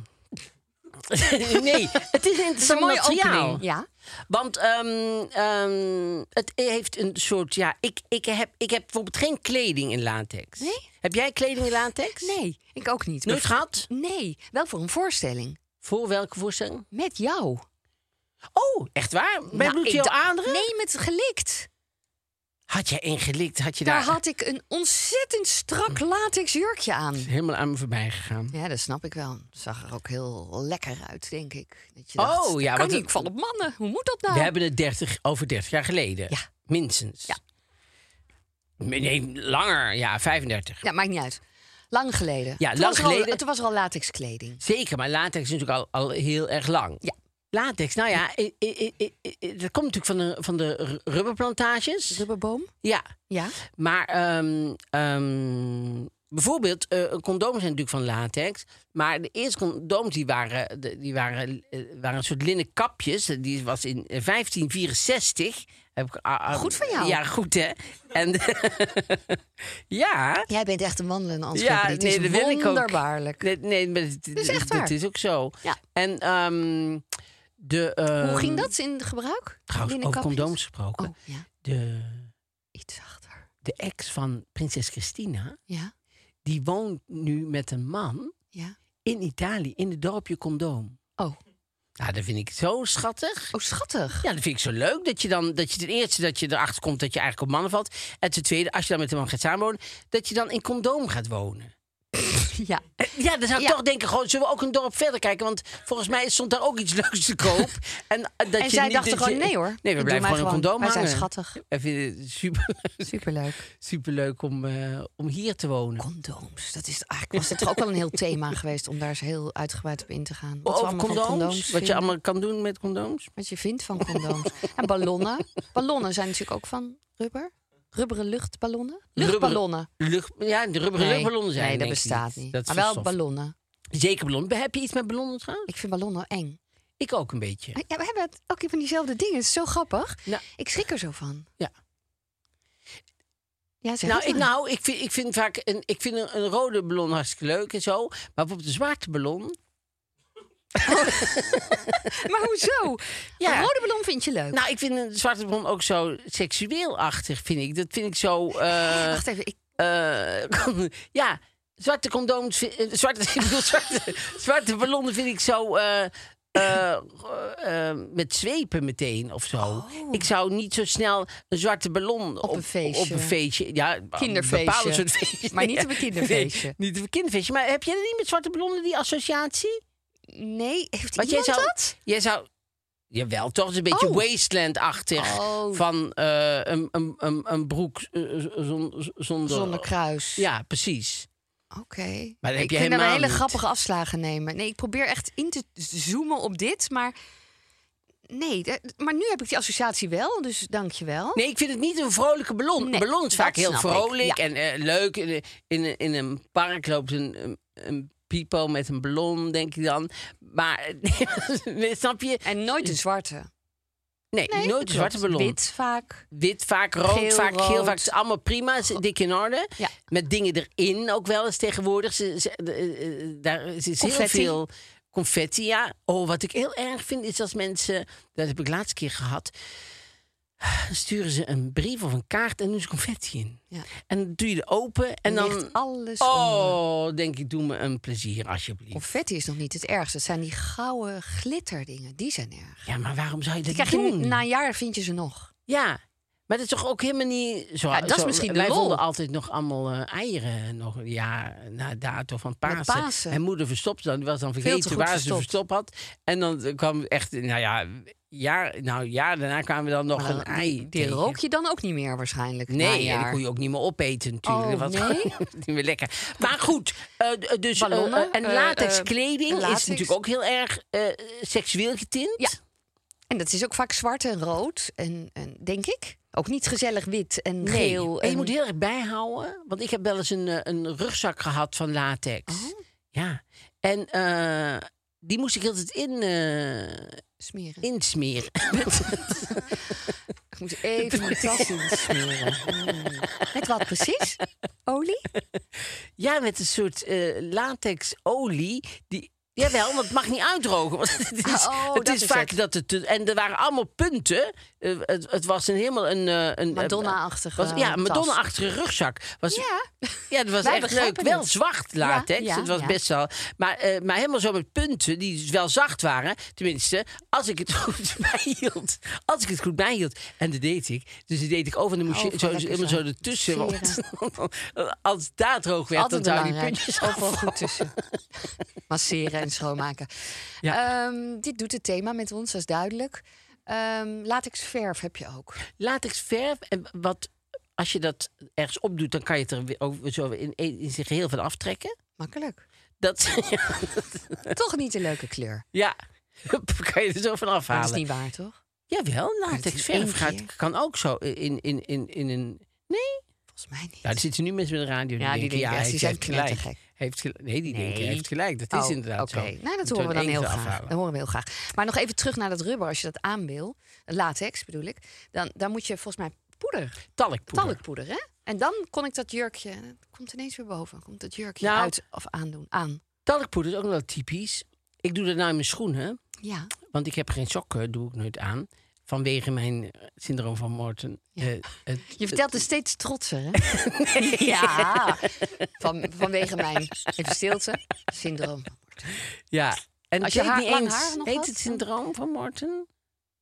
B: nee, het is een
D: Het is een
B: interessant
D: mooie
B: materiaal.
D: opening. Ja.
B: Want ehm, ehm, het heeft een soort, ja, ik, ik, heb, ik heb bijvoorbeeld geen kleding in latex.
D: Nee?
B: Heb jij kleding in latex?
D: Nee, ik ook niet.
B: Nooit
D: Maar-
B: gehad?
D: Nee, wel voor een voorstelling.
B: Voor welke voorstelling?
D: Met jou.
B: Oh, echt waar? Met
D: Nou,
B: bloed
D: ik
B: heel
D: da-
B: aanderen?
D: Nee, met gelikt.
B: Had jij ingelikt? Had je
D: Daar
B: daar,
D: had ik een ontzettend strak latex jurkje aan.
B: helemaal aan me voorbij gegaan?
D: Ja, dat snap ik wel. Zag er ook heel lekker uit, denk ik. Dat je
B: Oh,
D: dacht,
B: ja,
D: ja, kan niet,
B: want het-
D: ik val op mannen. Hoe moet dat nou?
B: We hebben het 30, over 30 jaar geleden.
D: Ja.
B: Minstens.
D: Ja.
B: Nee, langer. Ja, 35.
D: Ja, maakt niet uit. Lang geleden.
B: Ja,
D: toen
B: lang
D: was er al-
B: geleden.
D: toen was er al latex kleding.
B: Zeker, maar latex is natuurlijk al, al heel erg lang.
D: Ja.
B: Latex, nou ja, i- i- i- i- i- dat komt natuurlijk van de, van de ru- rubberplantages.
D: Rubberboom?
B: Ja,
D: Ja.
B: maar ehm, ehm, bijvoorbeeld, eh, condooms zijn natuurlijk van latex. Maar de eerste condooms die waren, de- die waren, eh, waren een soort linnen kapjes. Eh, Die was in eh, 1564. Heb ik, ah, ah,
D: Goed van jou.
B: Ja, goed hè. En, ja.
D: Jij bent echt een wandelende
B: Ja,
D: encyclopedie.
B: nee,
D: Het is
B: dat wil ik ook.
D: wonderbaarlijk.
B: Nee, nee maar het,
D: is echt
B: dat
D: waar.
B: is ook zo.
D: Ja.
B: En ehm, de.
D: Hoe
B: ehm,
D: ging dat in gebruik?
B: Trouwens,
D: Linnen
B: over
D: kapjes?
B: condooms gesproken.
D: Oh, ja.
B: De,
D: Iets zachter.
B: de ex van prinses Christina,
D: Ja,
B: die woont nu met een man
D: ja.
B: in Italië in het dorpje Condoom.
D: Oh,
B: Nou, dat vind ik zo schattig.
D: oh schattig.
B: Ja, dat vind ik zo leuk. Dat je dan, dat je ten eerste dat je erachter komt dat je eigenlijk op mannen valt. En ten tweede, als je dan met een man gaat samenwonen, dat je dan in condoom gaat wonen.
D: Ja.
B: Eh, Ja, dan zou ik
D: Ja.
B: toch denken, gewoon, zullen we ook een dorp verder kijken? Want volgens mij stond daar ook iets leuks te koop. En, eh, dat
D: En
B: je
D: zij
B: niet-
D: dachten
B: dat
D: gewoon,
B: je-
D: nee hoor.
B: Nee, we
D: Doe
B: blijven
D: mij
B: gewoon een condoom
D: Wij
B: hangen.
D: zijn schattig.
B: Ik vind het super,
D: Superleuk.
B: superleuk om, eh, om hier te wonen.
D: Condooms. Dat is eigenlijk was het toch ook wel een heel thema geweest om daar eens heel uitgebreid op in te gaan. Wat we
B: Oh, Over
D: allemaal van
B: condooms, wat je
D: vinden.
B: allemaal kan doen met condooms.
D: wat je vindt van condooms. en ballonnen. Ballonnen zijn natuurlijk ook van rubber. Rubberen luchtballonnen.
B: Rubber-
D: Luchtballonnen.
B: Lucht, ja, de rubberen luchtballonnen zijn.
D: nee, dat
B: denk ik
D: bestaat niet.
B: Dat is
D: maar wel
B: verstopt.
D: ballonnen.
B: Zeker ballonnen. Heb je iets met ballonnen trouwens?
D: Ik vind ballonnen eng.
B: Ik ook een beetje.
D: Ah, Ja, we hebben het ook van diezelfde dingen. Het is zo grappig.
B: Nou.
D: ik schrik er zo van.
B: Ja.
D: Ja, zeg
B: nou,
D: het
B: ik,
D: maar.
B: nou ik, vind, ik vind vaak een, ik vind een, een rode ballon hartstikke leuk en zo. Maar bijvoorbeeld een zwarte ballon.
D: Maar hoezo?
B: nou- Ja.
D: Een rode ballon vind je leuk.
B: Nou, ik vind een zwarte ballon ook zo seksueelachtig, vind ik. Dat vind ik zo. eh,
D: Wacht even, ik,
B: eh, kon- ja, zwarte condooms. vi- eh, zwarte, ik bedoel, zwarte, zwarte ballonnen vind ik zo. eh, eh, eh, met zwepen meteen of zo. Ik zou niet zo snel een zwarte ballon op,
D: Oh. een feestje.
B: Op een feestje. Ja, een
D: Kinderfeestje.
B: bepaalde soort feestje.
D: Maar niet op een kinderfeestje.
B: Nee, niet op een kinderfeestje. Maar heb jij er niet met zwarte ballonnen die associatie?
D: nee, heeft
B: Want jij
D: iemand
B: zou,
D: dat?
B: Jij zou... Jawel, toch? Het is een beetje
D: Oh.
B: wasteland-achtig.
D: Oh.
B: Van eh, een, een, een, een broek eh, zon- zonder...
D: Zonder kruis.
B: Ja, precies.
D: Oké.
B: Maar dat heb
D: ik
B: je
D: vind daar
B: helemaal
D: wel hele
B: niet.
D: grappige afslagen nemen. Nee, ik probeer echt in te zoomen op dit, maar nee. d- Maar nu heb ik die associatie wel, dus dank je wel.
B: Nee, ik vind het niet een vrolijke ballon.
D: Nee,
B: een ballon is vaak
D: dat
B: heel
D: snap ik,
B: vrolijk
D: ja.
B: en eh, leuk. In, een- in, een- in een park loopt een, een, een pipo met een ballon, denk ik dan. Maar, nee, snap je?
D: En nooit een zwarte.
B: Nee,
D: Nee,
B: nooit
D: klopt.
B: een zwarte ballon.
D: Wit vaak.
B: Wit vaak, rood
D: Geel,
B: vaak, geel
D: rood.
B: vaak. Het is allemaal prima, het is dik in orde.
D: Ja.
B: Met dingen erin ook wel eens tegenwoordig. Ze, ze- eh, eh, daar zit heel
D: Confetti.
B: veel confetti, ja. Oh, wat ik heel erg vind is als mensen... Dat heb ik laatst keer gehad. Sturen ze een brief of een kaart en doen ze confetti in.
D: Ja.
B: En dan doe je de open en dan...
D: ligt alles onder.
B: Oh, denk ik, doe me een plezier alsjeblieft.
D: Confetti is nog niet het ergste. Het zijn die gouden glitterdingen. Die zijn erg.
B: Ja, maar waarom zou je dat
D: Die krijg je
B: doen?
D: na een jaar vind je ze nog.
B: Ja, maar dat is toch ook helemaal niet zo.
D: Ja, dat is
B: zo-
D: misschien de
B: Wij
D: lol.
B: vonden altijd nog allemaal eh, eieren nog een jaar na dato van Pasen.
D: Pasen.
B: Mijn moeder verstopte dan, die was dan
D: te
B: vergeten
D: goed
B: waar ze
D: verstopt.
B: verstopt had. En dan kwam echt, nou ja, jaar, nou ja, daarna kwamen we dan nog
D: Maar dan-
B: een ei
D: Die
B: tegen.
D: rook je dan ook niet meer waarschijnlijk. na een
B: Nee, en die
D: jaar.
B: kon je ook niet meer opeten natuurlijk.
D: Oh,
B: Dat was
D: nee?
B: gewoon niet meer lekker. Maar goed, eh, d- dus eh,
D: Ballonnen,
B: eh, en
D: eh,
B: latex
D: eh,
B: kleding
D: latex.
B: is natuurlijk ook heel erg eh, seksueel getint.
D: Ja. En dat is ook vaak zwart en rood. En, en denk ik. Ook niet gezellig wit en
B: Nee,
D: geel.
B: maar je
D: en-
B: moet heel erg bijhouden. Want ik heb wel eens een, eh, een rugzak gehad van latex.
D: Oh.
B: Ja. En eh, die moest ik altijd in, eh,
D: smeren.
B: insmeren.
D: Ik moet even mijn tas insmeren. Mm. Met wat precies? Olie?
B: ja, met een soort eh latexolie. Die, jawel, want het mag niet uitdrogen. Want het is,
D: Oh,
B: het
D: dat
B: is
D: is
B: vaak
D: het.
B: dat het... te- En er waren allemaal punten. Eh, het, het was een helemaal een... eh, een
D: Madonna-achtige
B: was- Ja, een
D: tas.
B: Madonna-achtige rugzak. Was,
D: Ja.
B: Ja, dat was
D: Wij
B: echt leuk.
D: begrijpen
B: Wel
D: het.
B: zwart latex.
D: Ja, ja,
B: het was
D: ja.
B: best wel. Maar, eh, maar helemaal zo met punten die dus wel zacht waren. Tenminste, als ik het goed bijhield. Als ik het goed bijhield. En dat deed ik. Dus dat deed ik over. En dan moest je
D: Over,
B: zo,
D: Oh, lekker
B: helemaal
D: zo.
B: zo ertussen. Want,
D: Masseren.
B: als daar droog werd,
D: Altijd
B: dan zouden die
D: belangrijk.
B: puntjes
D: Ook wel
B: afvallen.
D: goed tussen. Masseren en schoonmaken.
B: Ja.
D: Ehm, dit doet het thema met ons, dat is duidelijk. Ehm latex verf heb je ook.
B: Latex verf. En wat, als je dat ergens opdoet, dan kan je het er weer ook zo in, in zijn geheel van aftrekken.
D: Makkelijk.
B: Dat, ja,
D: Toch niet een leuke kleur.
B: ja. kan je er zo van
D: Maar
B: afhalen.
D: dat is niet waar, toch?
B: Jawel,
D: het
B: latex
D: in
B: verf
D: één
B: gaat,
D: keer?
B: kan ook zo in, in, in, in een... Nee?
D: Volgens mij niet.
B: Ja, er zitten nu mensen met de radio die
D: Ja, die denken,
B: denken, ja,
D: ja, die
B: hij heeft
D: zijn
B: gelijk.
D: knettergek.
B: Heeft gel- nee, die denken, hij
D: Nee.
B: heeft gelijk. Dat is
D: Oh,
B: inderdaad
D: oké.
B: zo.
D: Nou, dat
B: Moeten we
D: horen we dan
B: één
D: heel
B: van
D: graag.
B: afhalen.
D: Dat horen we heel graag. Maar nog even terug naar dat rubber, als je dat aan wil. Latex bedoel ik. Dan, dan moet je volgens mij poeder.
B: Talkpoeder.
D: Talkpoeder, hè? En dan kon ik dat jurkje... Het komt ineens weer boven. Komt dat jurkje
B: Nou.
D: uit of aandoen. Aan.
B: Talkpoeder is ook wel typisch. Ik doe dat nou in mijn schoenen,
D: Ja.
B: want ik heb geen sokken, doe ik nooit aan. Vanwege mijn eh, syndroom van Morten. Eh, het-
D: Je vertelt het steeds trotser, hè? Ja. Van, vanwege mijn even stilte syndroom.
B: ja. En
D: Als je
B: ik weet
D: haar-
B: niet
D: lang
B: eens,
D: haar nog
B: heet
D: had,
B: het
D: dan-
B: syndroom van Morten?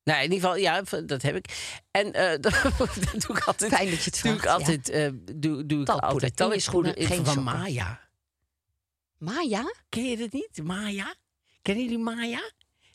B: Nou, in ieder geval, ja, v- dat heb ik. En eh, dat, doe ik altijd.
D: Fijn dat je het
B: doe ik
D: vraagt, ja.
B: altijd, eh, doe, doe ik
D: Talkpoeder.
B: altijd
D: In je schoenen,
B: talkpoeder
D: geen
B: van
D: sokken.
B: Maya.
D: Maya?
B: Ken je dat niet? Maya? Kennen jullie Maya?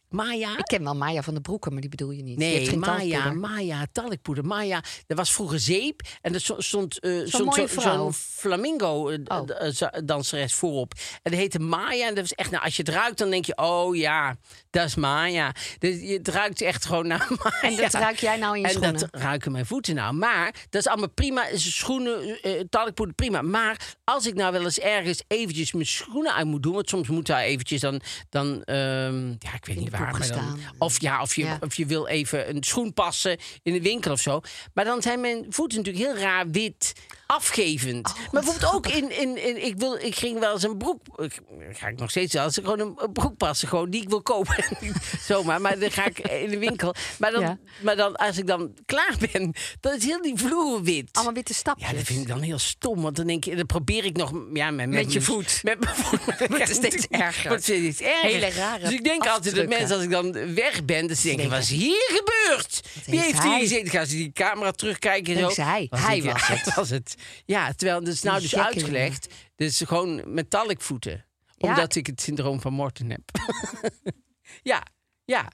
B: Maya?
D: Ik ken wel Maya van de Broeken, maar die bedoel je niet. je hebt
B: Nee,
D: geen
B: Maya,
D: tandpoeder.
B: Maya, talkpoeder. Maya, er was vroeger zeep en er sto- stond, eh, stond
D: mooie
B: zo-
D: vrouw.
B: zo'n eh,
D: Oh.
B: flamingo-danseres voorop. En die heette Maya. En dat was echt, nou, als je het ruikt, dan denk je, oh ja, dat is Maya. Dus je- het ruikt echt gewoon naar Maya.
D: En dat ruik jij nou in je
B: En
D: schoenen?
B: dat ruiken mijn voeten nou. Maar dat is allemaal prima. Is Schoenen, eh talkpoeder, prima. Maar als ik nou wel eens ergens eventjes mijn schoenen uit moet doen... want soms moet daar eventjes dan... dan ehm, ja, ik weet niet
D: de
B: waar.
D: boeg
B: maar dan-
D: gestaan.
B: of ja, of je,
D: Ja.
B: of je wil even een schoen passen in de winkel of zo. Maar dan zijn mijn voeten natuurlijk heel raar wit afgevend.
D: Oh,
B: maar bijvoorbeeld ook in... in, in ik, wil, ik ging wel eens een broek... Ik, ga ik nog steeds wel eens gewoon een, een broek passen. Gewoon die ik wil kopen. Zomaar. Maar dan ga ik in de winkel. Maar dan,
D: Ja.
B: maar dan, als ik dan klaar ben, dan is heel die vloer wit.
D: Allemaal witte stapjes.
B: Ja, dat vind ik dan heel stom. Want dan denk je, dan probeer ik nog ja, met,
D: Met je
B: mijn-
D: voet.
B: Met mijn voet. Maar dat
D: Wordt
B: kan
D: het steeds
B: natuurlijk-
D: erger.
B: Wordt steeds erger.
D: Hele rare
B: Dus ik denk altijd dat
D: afdrukken.
B: mensen, als ik dan weg ben, dat ze denken:
D: denken,
B: wat is hier gebeurd? Wie
D: heeft
B: heeft hier
D: hij?
B: gezeten? Gaan ze die camera terugkijken? en
D: Denken
B: zo.
D: ze hij.
B: Was
D: Hij
B: het, ja,
D: was het.
B: was het. Ja, terwijl dat is nou
D: Die
B: dus
D: gekke
B: uitgelegd. Dus gewoon metallic voeten.
D: Ja.
B: Omdat ik het syndroom van Morten heb. ja, ja.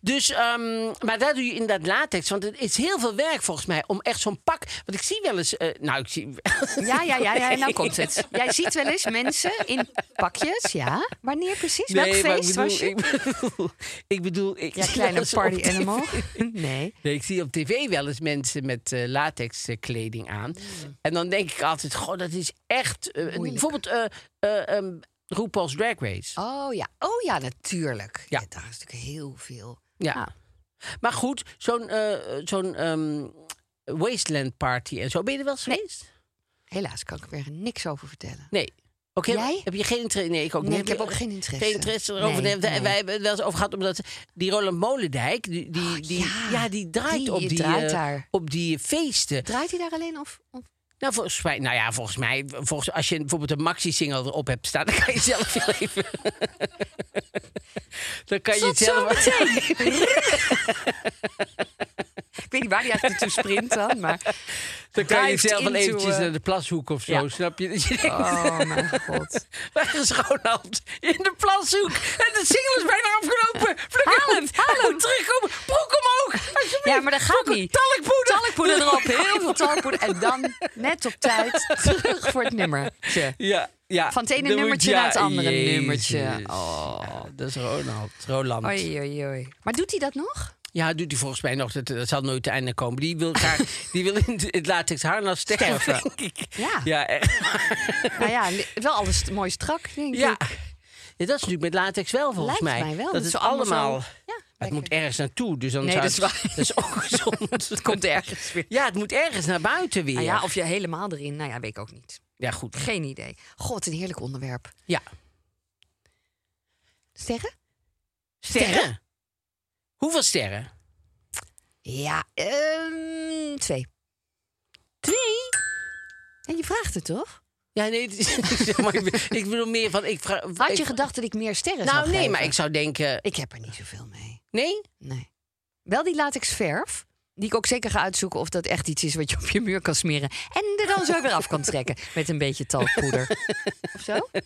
B: Dus, ehm, maar daar doe je inderdaad latex. Want het is heel veel werk volgens mij om echt zo'n pak. Want ik zie wel eens. eh, nou, ik zie.
D: Ja, ja, ja, ja, nou komt het. Jij ziet wel eens mensen in pakjes, ja. Wanneer precies? Welk
B: maar
D: feest was je?
B: ik bedoel, ik bedoel, ik
D: Ja,
B: zie wel
D: kleine
B: eens op
D: party
B: tv
D: animal. Nee.
B: Nee, ik zie op tv wel eens mensen met eh latex eh, kleding aan.
D: Hmm.
B: En dan denk ik altijd, goh, dat is echt... eh, bijvoorbeeld eh eh, ehm, RuPaul's Drag Race.
D: Oh ja, oh ja, natuurlijk.
B: Ja.
D: Ja. daar is natuurlijk heel veel.
B: ja.
D: Ah.
B: Maar goed, zo'n eh, zo'n ehm, Wasteland Party en zo. Ben je er wel eens geweest?
D: Helaas kan ik er niks over vertellen.
B: Nee. Oké,
D: Jij?
B: heb je geen interesse? Nee, ik ook
D: Nee,
B: niet.
D: ik heb ook geen interesse.
B: Geen interesse erover.
D: Nee,
B: En wij-
D: nee.
B: Wij hebben het wel eens over gehad, omdat die Roland Molendijk, die, die, die, ja.
D: ja.
B: die draait,
D: Die
B: op, die,
D: draait
B: eh,
D: daar.
B: op die feesten.
D: Draait hij daar alleen of? of-
B: Nou, volgens mij, nou ja, volgens mij, volgens, als je bijvoorbeeld een maxi-single erop hebt staan, dan kan je zelf wel even. dan kan je
D: Tot
B: het
D: zo
B: zelf.
D: meteen. ik weet niet waar hij eigenlijk naartoe sprint dan, maar...
B: Dan kan je het
D: Dived
B: zelf wel
D: into,
B: eventjes
D: eh,
B: naar de plashoek of zo,
D: ja.
B: snap je? Dat je denkt,
D: Oh mijn god.
B: Weg is Ronald in de plashoek. En de single is bijna afgelopen. Vlug
D: Haal
B: aan
D: hem, haal
B: Hij moet terugkomen. Broek omhoog. alsjeblieft.
D: Ja, maar dat gaat
B: Broek-
D: niet.
B: Talkpoeder.
D: Talkpoeder erop, heel veel talkpoeder. En dan, net op tijd, terug voor het nummertje.
B: Ja, ja.
D: Van het ene
B: Dan moet-
D: nummertje
B: ja,
D: naar het andere
B: Jezus.
D: nummertje. Oh.
B: Ja, dat is Ronald. Roland.
D: Oei, oei, oei. Maar doet hij dat nog?
B: Ja, doet hij volgens mij nog. Dat, dat zal nooit te einde komen. Die wil, graag, die wil in het latex harnas sterven,
D: Sterven.
B: denk ik.
D: Ja.
B: Ja, eh, echt.
D: Nou ja, li- wel alles st- mooi strak, denk
B: Ja.
D: ik.
B: Ja, dat is natuurlijk met latex wel, volgens
D: Lijkt
B: mij.
D: mij wel.
B: Dat,
D: Dat
B: is
D: is allemaal
B: allemaal...
D: zo- Ja,
B: Maar het
D: lekker.
B: moet ergens naartoe, dus dan
D: Nee,
B: zou
D: dat is
B: het-
D: waar.
B: Dat is ongezond.
D: Het komt ergens weer.
B: Ja, het moet ergens naar buiten weer.
D: Nou ja, of je helemaal erin, nou ja, weet ik ook niet.
B: Ja, goed.
D: Geen idee. God, een heerlijk onderwerp.
B: Ja.
D: Sterren?
B: Sterren? Hoeveel sterren?
D: Ja, ehm, twee.
B: Twee?
D: En je vraagt het toch?
B: Ja, nee, het is- zeg maar, ik be- ik bedoel meer van... Ik vraag,
D: Had je
B: ik-
D: gedacht dat ik meer sterren zou
B: Nou, nee,
D: geven?
B: maar ik zou denken...
D: Ik heb er niet zoveel mee.
B: Nee?
D: Nee. Wel die latex verf. Die ik ook zeker ga uitzoeken of dat echt iets is wat je op je muur kan smeren. En er dan zo weer af kan trekken. Met een beetje talkpoeder. of zo? Ja,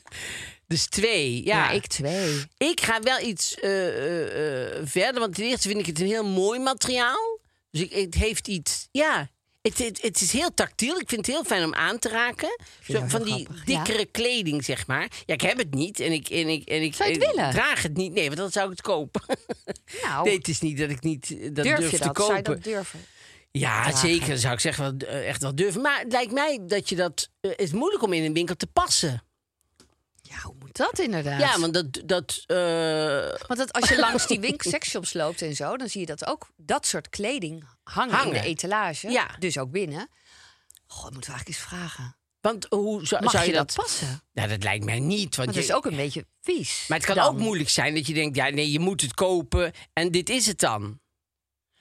B: Dus twee, ja.
D: ik twee.
B: Ik ga wel iets eh, eh, eh, verder, want ten eerste vind ik het een heel mooi materiaal. Dus ik, het heeft iets, ja. Het, het, het is heel tactiel. Ik vind het heel fijn om aan te raken. Zo,
D: heel
B: van die
D: grappig, ja.
B: dikkere kleding, zeg maar. Ja, ik heb het niet. En ik, en ik, en ik,
D: Zou je het
B: en ik
D: willen?
B: draag het niet. Nee, want dan zou ik het kopen.
D: Nou,
B: Nee, het is niet dat ik niet eh, dat durf,
D: durf je
B: te
D: dat?
B: kopen.
D: Zou je dat durven?
B: Ja, zeker. Zou ik zeggen, wel, eh, echt wel durven. Maar het lijkt mij dat je dat... eh, het is moeilijk om in een winkel te passen.
D: Ja, hoe moet dat inderdaad?
B: Ja, want dat... dat eh,
D: Want dat als je langs die winkel seksshops loopt en zo... dan zie je dat ook dat soort kleding hangen, in
B: Hangen.
D: de etalage.
B: Ja.
D: Dus ook binnen. Goh, moeten we eigenlijk eens vragen.
B: want hoe zou,
D: Mag
B: zou
D: je
B: je
D: dat passen?
B: Nou, dat lijkt mij niet. Want
D: Want
B: je,
D: dat is ook een beetje vies.
B: maar het kan
D: dan.
B: ook moeilijk zijn dat je denkt: ja, nee, je moet het kopen en dit is het dan.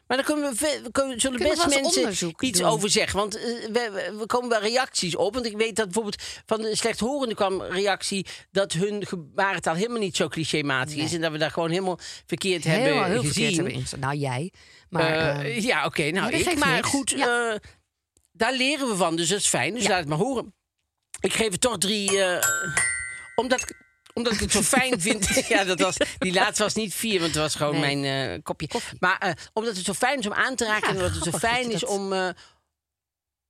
B: Maar dan kunnen we, ve- we kunnen, zullen
D: Kunnen we
B: best
D: wel eens
B: mensen
D: onderzoek
B: iets
D: doen?
B: over zeggen. Want eh, we, we- we komen wel reacties op. Want ik weet dat bijvoorbeeld van de slechthorende kwam reactie... dat hun gebarentaal helemaal niet zo clichématig is. En dat we daar gewoon helemaal verkeerd
D: heel, heel
B: hebben gezien.
D: verkeerd hebben ingesteld. Nou, jij. Maar
B: Eh,
D: eh,
B: ja, oké. nou,
D: maar dat
B: ik,
D: geeft
B: maar
D: niks.
B: goed,
D: Ja.
B: eh, daar leren we van. Dus dat is fijn. Dus laat het maar horen. Ik geef het toch drie... eh, omdat, ik- omdat ik het zo fijn vind. ja, dat was, die laatste was niet vier, want het was gewoon
D: Nee.
B: mijn eh, kopje. Maar eh, omdat het zo fijn is om aan te raken.
D: Ja,
B: en omdat het zo
D: grappig dat
B: fijn
D: je
B: is
D: dat-
B: om... eh,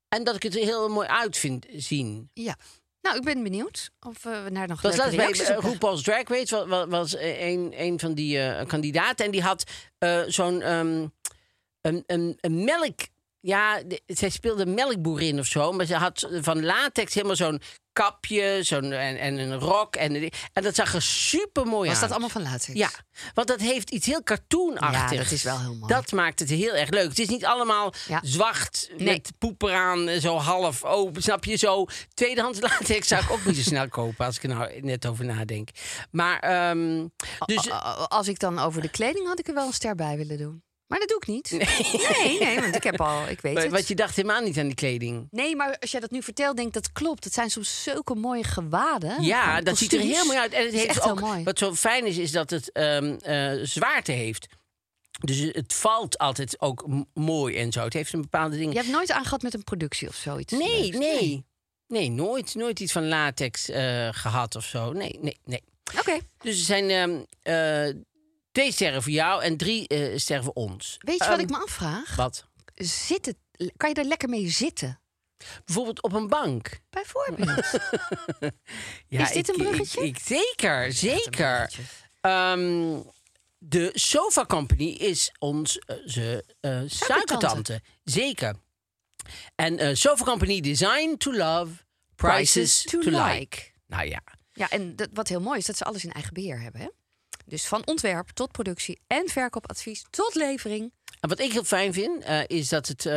B: en dat ik het er heel mooi uit vind zien.
D: ja. Nou, ik ben benieuwd of eh, we daar nog
B: Dat was
D: leuke
B: laatst bij
D: reacties
B: eh,
D: op krijgen.
B: RuPaul's Drag Race. wa- wa- Was, eh, een, een van die eh, kandidaten. En die had eh, zo'n... ehm, een, een, een melk... Ja, de- zij speelde een melkboerin of zo. Maar ze had van latex helemaal zo'n kapje zo'n en, en een rok. En, en dat zag er super mooi
D: Was
B: uit.
D: dat allemaal van latex?
B: Ja, want dat heeft iets heel cartoonachtigs.
D: Ja, dat is wel heel mooi.
B: Dat maakt het heel erg leuk. Het is niet allemaal
D: Ja.
B: zwart
D: Nee.
B: met poeper aan, eh, zo half open. Snap je? Zo tweedehands latex zou ik ook niet zo snel kopen als ik er nou net over nadenk. Maar ehm,
D: Oh,
B: dus
D: A- a- Als ik dan over de kleding had ik er wel een ster bij willen doen. Maar dat doe ik niet. Nee, nee, want ik heb al, ik weet
B: eh,
D: het.
B: wat je dacht helemaal niet aan die kleding.
D: Nee, maar als jij dat nu vertelt, denk ik dat klopt. Het zijn soms zulke mooie gewaden.
B: Ja,
D: Oh, Gewoon
B: dat ziet er
D: kostuums.
B: heel mooi uit. En het
D: Dat is
B: heeft
D: echt
B: ook,
D: heel mooi.
B: Wat zo fijn is, is dat het ehm, eh, zwaarte heeft. Dus het valt altijd ook m- mooi en zo. Het heeft een bepaalde ding.
D: Je hebt nooit aangehad met een productie of zoiets.
B: Nee,
D: leuks?
B: nee. Nee, nooit, nooit iets van latex eh, gehad of zo. Nee, nee, nee.
D: Oké.
B: Dus er zijn ehm, eh, twee sterren voor jou en drie eh, sterren voor ons.
D: Weet je
B: Ehm,
D: wat ik me afvraag?
B: Wat?
D: Zit het, kan je daar lekker mee zitten?
B: Bijvoorbeeld op een bank.
D: Bijvoorbeeld.
B: Ja,
D: Is dit
B: ik-
D: een bruggetje?
B: Ik, ik- zeker, zeker. Ehm, de Sofa Company is ons eh, ze, eh, suikertante. Zeker. En eh, Sofa Company, design to love, prices, to, like. Nou ja.
D: Ja, en dat, wat heel mooi is, dat ze alles in eigen beheer hebben. Hè? Dus van ontwerp tot productie en verkoopadvies tot levering.
B: En Nou, wat ik heel fijn vind, eh, is dat het, eh,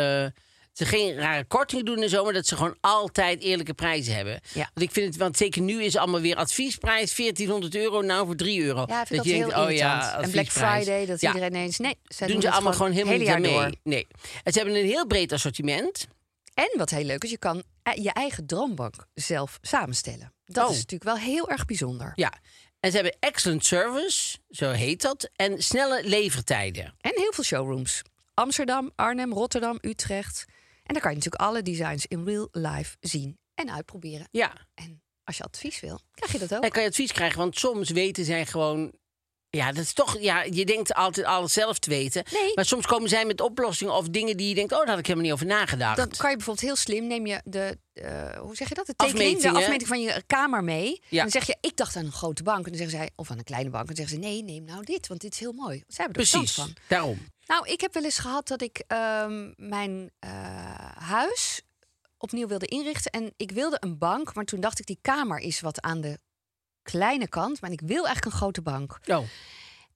B: ze geen rare kortingen doen en zo, maar dat ze gewoon altijd eerlijke prijzen hebben.
D: Ja.
B: Want ik vind het, want zeker nu is allemaal weer adviesprijs 1400 euro, nou voor 3 euro.
D: Ja, ik vind dat,
B: je
D: heel
B: denkt, oh ja,
D: irritant. en Black
B: adviesprijs.
D: Friday, dat
B: Ja.
D: iedereen ineens... Nee, ze
B: doen ze allemaal gewoon,
D: helemaal
B: helemaal
D: hele
B: niet
D: jaar
B: aan
D: door.
B: mee. Nee. En ze hebben een heel breed assortiment.
D: En wat heel leuk is, je kan eh, je eigen droombank zelf samenstellen. Dat
B: Oh.
D: is natuurlijk wel heel erg bijzonder.
B: Ja. En ze hebben excellent service, zo heet dat, en snelle levertijden.
D: En heel veel showrooms. Amsterdam, Arnhem, Rotterdam, Utrecht. En daar kan je natuurlijk alle designs in real life zien en uitproberen.
B: Ja.
D: En als je advies wil, krijg je dat ook.
B: En kan je advies krijgen, want soms weten zij gewoon Ja, dat is toch. Ja, je denkt altijd alles zelf te weten.
D: Nee.
B: Maar soms komen zij met oplossingen of dingen die je denkt: oh, daar had ik helemaal niet over nagedacht.
D: Dan kan je bijvoorbeeld heel slim, neem je de, eh, hoe zeg je dat? De tekening, de
B: Afmetingen.
D: afmeting van je kamer mee.
B: Ja.
D: Dan zeg je, ik dacht aan een grote bank. En dan zeggen zij, of aan een kleine bank. En dan zeggen ze, nee, neem nou dit, want dit is heel mooi. Zij hebben er verstand
B: Precies.
D: van.
B: Daarom.
D: Nou, ik heb wel eens gehad dat ik ehm, mijn eh, huis opnieuw wilde inrichten. En ik wilde een bank, maar toen dacht ik, die kamer is wat aan de kleine kant. Maar ik wil eigenlijk een grote bank.
B: Oh.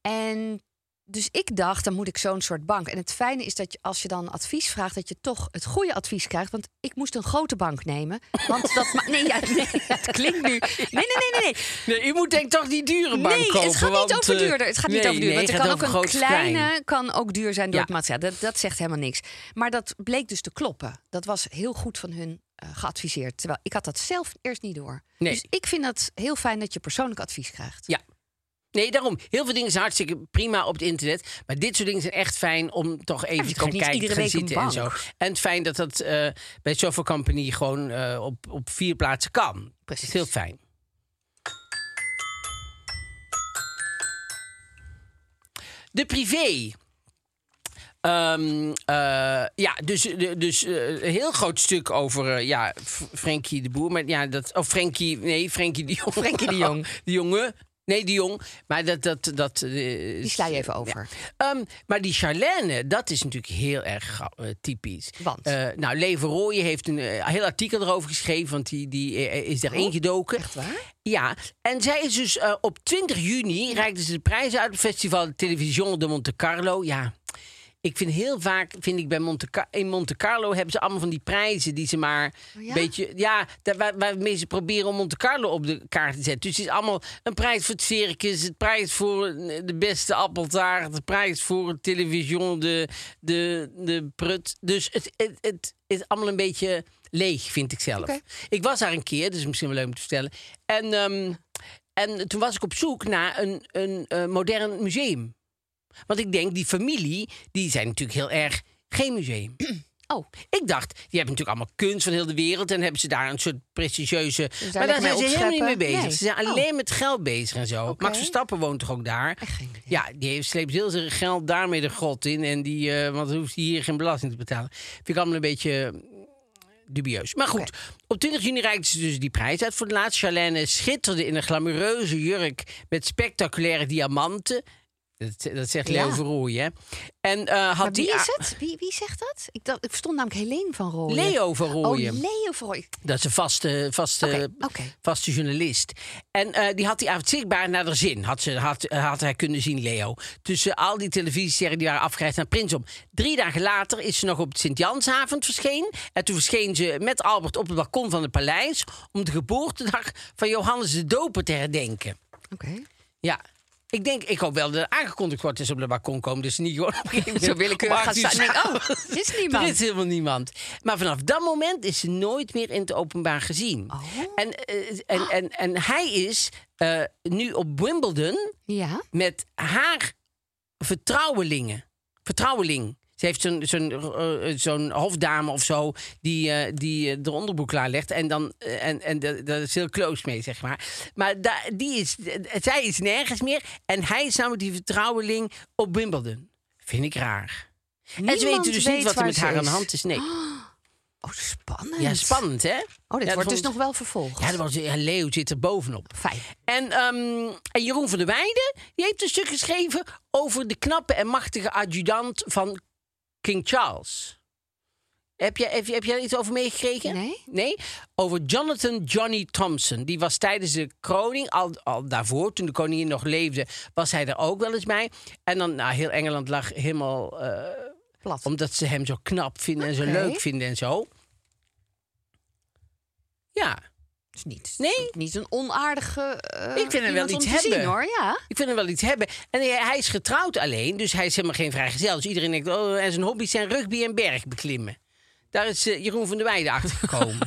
D: En dus ik dacht, dan moet ik zo'n soort bank. En het fijne is dat je, als je dan advies vraagt, dat je toch het goede advies krijgt. Want ik moest een grote bank nemen. Want dat. ma- Nee, ja, nee, het klinkt nu. Nee, nee, nee, nee. nee.
B: Nee, u moet denk ik toch die dure bank
D: Nee,
B: kopen.
D: het gaat niet
B: want,
D: over
B: eh,
D: duurder. Het gaat niet
B: nee,
D: over duurder.
B: nee,
D: want er
B: het
D: kan
B: gaat
D: ook een
B: over groot, klein.
D: kleine kan ook duur zijn door
B: Ja.
D: het materiaal. Dat, dat zegt helemaal niks. Maar dat bleek dus te kloppen. Dat was heel goed van hun eh, geadviseerd. Terwijl ik had dat zelf eerst niet door.
B: Nee.
D: Dus ik vind dat heel fijn dat je persoonlijk advies krijgt.
B: Ja. Nee, daarom. Heel veel dingen zijn hartstikke prima op het internet. Maar dit soort dingen zijn echt fijn om toch even te
D: hoeft
B: gaan
D: ook niet
B: kijken,
D: iedere
B: gaan
D: week een
B: zitten en zo.
D: bank.
B: En het fijn dat dat eh, bij Sofa Company gewoon eh, op, op vier plaatsen kan.
D: Precies.
B: Dat is heel fijn. De privé. Ehm, eh, ja, dus, de- dus eh, een heel groot stuk over eh, ja, F- Frenkie de Boer. Maar ja, dat, of Frenkie, nee, Frenkie de Jong.
D: Frenkie de Jong.
B: de jongen. Nee, de Jong. Maar dat... dat, dat eh,
D: Die sla je even over.
B: Ehm, maar die Charlène, dat is natuurlijk heel erg ga- eh, typisch.
D: Want?
B: Eh, nou, Leven Rooyen heeft een eh, heel artikel erover geschreven, want die, die eh, is daar ingedoken.
D: Oh, Echt waar?
B: Ja, en zij is dus eh, op 20 juni reikte ze de prijzen uit op festival Television de Monte Carlo. Ja, ik vind heel vaak, vind ik bij Monte Ca- in Monte Carlo hebben ze allemaal van die prijzen die ze maar
D: Oh ja?
B: een beetje, ja, daar, waar, waarmee ze proberen om Monte Carlo op de kaart te zetten. Dus het is allemaal een prijs voor het circus, het prijs voor eh, de beste appeltaart, de prijs voor het television, de, de, de prut. Dus het, het, het is allemaal een beetje leeg, vind ik zelf.
D: Oké.
B: Ik was daar een keer, dus misschien wel leuk om te vertellen. En, ehm, en toen was ik op zoek naar een, een eh, modern museum. Want ik denk, die familie, die zijn natuurlijk heel erg geen museum.
D: Oh.
B: Ik dacht, die hebben natuurlijk allemaal kunst van heel de wereld... en hebben ze daar een soort prestigieuze... maar
D: lekker
B: daar
D: mee
B: zijn ze helemaal niet mee
D: opscheppen?
B: bezig.
D: Nee.
B: Ze zijn
D: Oh.
B: alleen met geld bezig en zo. Max Verstappen woont toch ook daar?
D: Echt geen idee.
B: Ja, die heeft, sleept heel zijn geld daarmee de grot in... en die, eh, want dan hoeft hij hier geen belasting te betalen. Vind ik allemaal een beetje dubieus. Maar goed, op 20 juni reikte ze dus die prijs uit voor het laatst. Charlène schitterde in een glamoureuze jurk met spectaculaire diamanten. Dat, dat zegt
D: Ja.
B: Leo Verrooy, hè? En eh, had
D: Maar wie
B: die
D: is het? Wie, wie zegt dat? Ik, dacht, ik verstond namelijk Helene van Rooyen.
B: Leo Verrooyen.
D: Oh, Leo van Rooyen.
B: Dat is een vaste, vaste,
D: Oké, oké.
B: vaste journalist. En eh, die had die avond zichtbaar naar haar zin. Had, ze, had, had hij kunnen zien, Leo. Tussen al die televisiesterren die waren afgereisd naar Prinsom. Drie dagen later is ze nog op het Sint-Jansavond verscheen. En toen verscheen ze met Albert op het balkon van het paleis... om de geboortedag van Johannes de Doper te herdenken.
D: Oké.
B: Ja. Ik denk, ik hoop wel dat er aangekondigd wordt dat ze op de balkon komen. Dus niet gewoon op een gegeven moment
D: Zo willekeurig
B: om
D: gaan
B: acht uur
D: staan. en denk,
B: s'avonds.
D: oh, er is niemand.
B: Er is helemaal niemand. Maar vanaf dat moment is ze nooit meer in het openbaar gezien. En, eh, en, en, en hij is eh, nu op Wimbledon
D: Ja.
B: met haar vertrouwelingen. Vertrouweling. Ze heeft zo'n zo'n eh, eh, zo'n hofdame of zo die, eh, die eh, de onderboek klaarlegt. En, dan, eh, en, en da- daar is heel close mee, zeg maar. Maar da- die is, eh, zij is nergens meer. En hij is namelijk die vertrouweling op Wimbledon. Vind ik raar. en ze
D: Niemand
B: weten dus
D: weet
B: niet wat er
D: waar
B: met
D: ze
B: haar aan de
D: is.
B: hand is. Nee.
D: Oh, spannend.
B: Ja, spannend,
D: Oh,
B: hè?
D: dit
B: Ja, dat
D: wordt dus
B: vond-
D: nog wel vervolgd.
B: Ja, dat was, ja, Leo zit er bovenop.
D: Fijn.
B: En, ehm, en Jeroen van der Weijden die heeft een stuk geschreven over de knappe en machtige adjudant van King Charles. Heb jij, heb, je- heb jij iets over meegekregen?
D: Nee.
B: Over Jonathan Johnny Thompson. Die was tijdens de kroning, al, al daarvoor, toen de koningin nog leefde, was hij er ook wel eens bij. En dan, nou, heel Engeland lag helemaal eh,
D: Plat.
B: omdat ze hem zo knap vinden en
D: Oké.
B: zo leuk vinden en zo. Ja,
D: Dus niet,
B: Nee.
D: Niet een onaardige. eh,
B: Ik vind hem wel
D: iemand om
B: iets
D: te zien,
B: hebben.
D: hoor, ja.
B: ik vind hem wel iets hebben. En hij, hij is getrouwd alleen, dus hij is helemaal geen vrijgezel. Dus iedereen denkt, oh, en zijn hobby's zijn rugby en berg beklimmen. Daar is eh, Jeroen van der Weijden achter gekomen.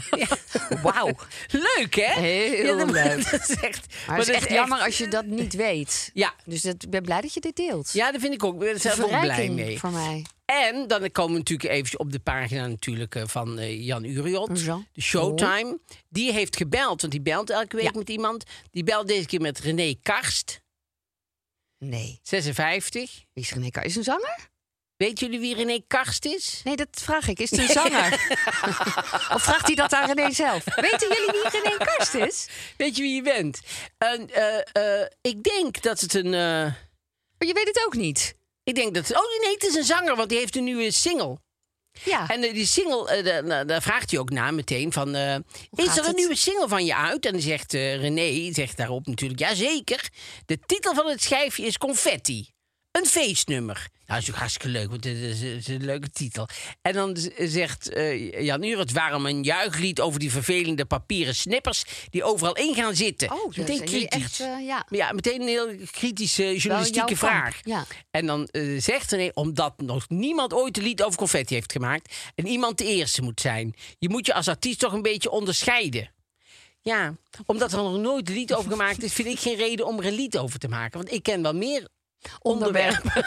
B: Wauw. Leuk, hè?
D: Heel
B: dat-
D: leuk.
B: Dat is echt,
D: Maar,
B: dat
D: het is echt jammer als je dat niet weet.
B: Ja.
D: Dus dat, ik ben blij dat je dit deelt.
B: Ja, dat vind ik ook. Daar
D: Het is
B: zijn
D: een
B: we ook blij
D: verrijking
B: mee.
D: voor mij.
B: En dan komen we natuurlijk even op de pagina natuurlijk eh, van eh, Jan Uriot.
D: Jean.
B: De Showtime. Die heeft gebeld, want die belt elke week
D: Ja.
B: met iemand. Die belt deze keer met René Karst.
D: Nee.
B: 56.
D: Wie is René Karst? Is het een zanger?
B: Weet jullie wie René Karst is?
D: Nee, dat vraag ik. Is het een zanger? of vraagt hij dat aan René zelf? Weten jullie wie René Karst is?
B: Weet je wie je bent? En, eh, eh, ik denk dat het een. eh,
D: Maar je weet het ook niet.
B: ik denk dat. Oh nee, het is een zanger, want die heeft een nieuwe single.
D: Ja.
B: En eh, die single, eh, da- da- daar vraagt hij ook na meteen van... eh, is
D: gaat
B: er een
D: het?
B: nieuwe single van je uit? En dan zegt eh, René, zegt daarop natuurlijk... Jazeker, de titel van het schijfje is Confetti. Een feestnummer. Nou, dat is natuurlijk hartstikke leuk, want het is, het is een leuke titel. En dan z- zegt eh Jan Urits waarom een juichlied over die vervelende papieren snippers... die overal in gaan zitten.
D: Oh,
B: Dus
D: dat zijn jullie echt, eh, ja.
B: ja, meteen een heel kritische
D: jouw
B: journalistieke
D: kamp,
B: vraag.
D: ja.
B: En dan eh, zegt René, omdat nog niemand ooit een lied over confetti heeft gemaakt... en iemand de eerste moet zijn. Je moet je als artiest toch een beetje onderscheiden. Ja, omdat er nog nooit een lied over gemaakt is... vind ik geen reden om er een lied over te maken. Want ik ken wel meer onderwerpen...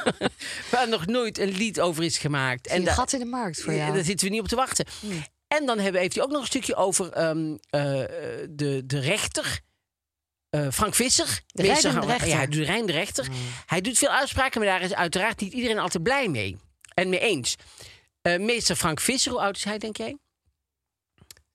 B: waar nog nooit een lied over is gemaakt.
D: en
B: da-
D: gat in de markt voor
B: ja,
D: jou. Hmm.
B: Daar zitten we niet op te wachten. En dan hebben, heeft hij ook nog een stukje over ehm, eh, de, de rechter. eh, Frank Visser.
D: De
B: Meester-
D: rijdende rechter. Hmm.
B: Ja, de rijdende rechter. Hij doet veel uitspraken, maar daar is uiteraard niet iedereen altijd blij mee. En mee eens. Eh, meester Frank Visser, hoe oud is hij, denk jij?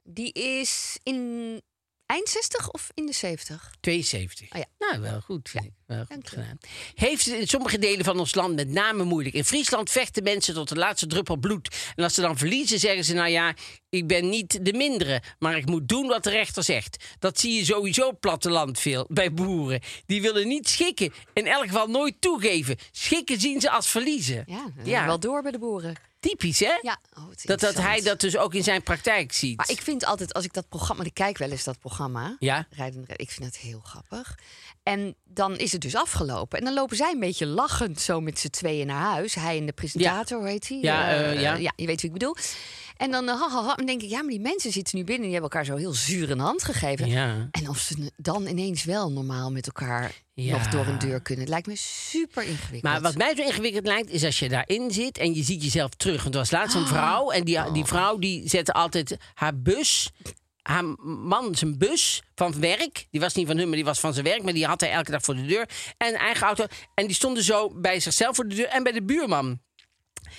D: Die is in eind 60 of in de 70?
B: 72.
D: Oh ja.
B: Nou, wel goed. Vind ik. Wel goed
D: dank je.
B: gedaan. Heeft het in sommige delen van ons land met name moeilijk. In Friesland vechten mensen tot de laatste druppel bloed. En als ze dan verliezen, zeggen ze: Nou ja, ik ben niet de mindere, maar ik moet doen wat de rechter zegt. Dat zie je sowieso op platteland veel bij boeren. Die willen niet schikken, in elk geval nooit toegeven. Schikken zien ze als verliezen.
D: Ja, ja. wel door bij de boeren.
B: typisch hè?
D: Ja, oh, wat
B: dat, dat hij
D: interessant.
B: dat dus ook in zijn praktijk ziet.
D: Maar ik vind altijd, als ik dat programma, want ik kijk wel eens dat programma,
B: Ja.
D: Rijden, Rijden, ik vind dat heel grappig. En dan is het dus afgelopen. En dan lopen zij een beetje lachend zo met z'n tweeën naar huis. Hij en de presentator, hoe heet hij?
B: Ja, eh, ja.
D: je weet wie ik bedoel. En dan, eh, ha, ha, ha, dan denk ik, ja, maar die mensen zitten nu binnen. Die hebben elkaar zo heel zuur een hand gegeven.
B: Ja.
D: En of ze dan ineens wel normaal met elkaar
B: Ja.
D: nog door een deur kunnen. Het lijkt me super ingewikkeld.
B: Maar wat mij zo ingewikkeld lijkt, is als je daarin zit en je ziet jezelf terug. Want er was laatst een vrouw en die, die vrouw die zette altijd haar bus, haar man zijn bus van werk. Die was niet van hun, maar die was van zijn werk. Maar die had hij elke dag voor de deur. En een eigen auto. En die stonden zo bij zichzelf voor de deur en bij de buurman.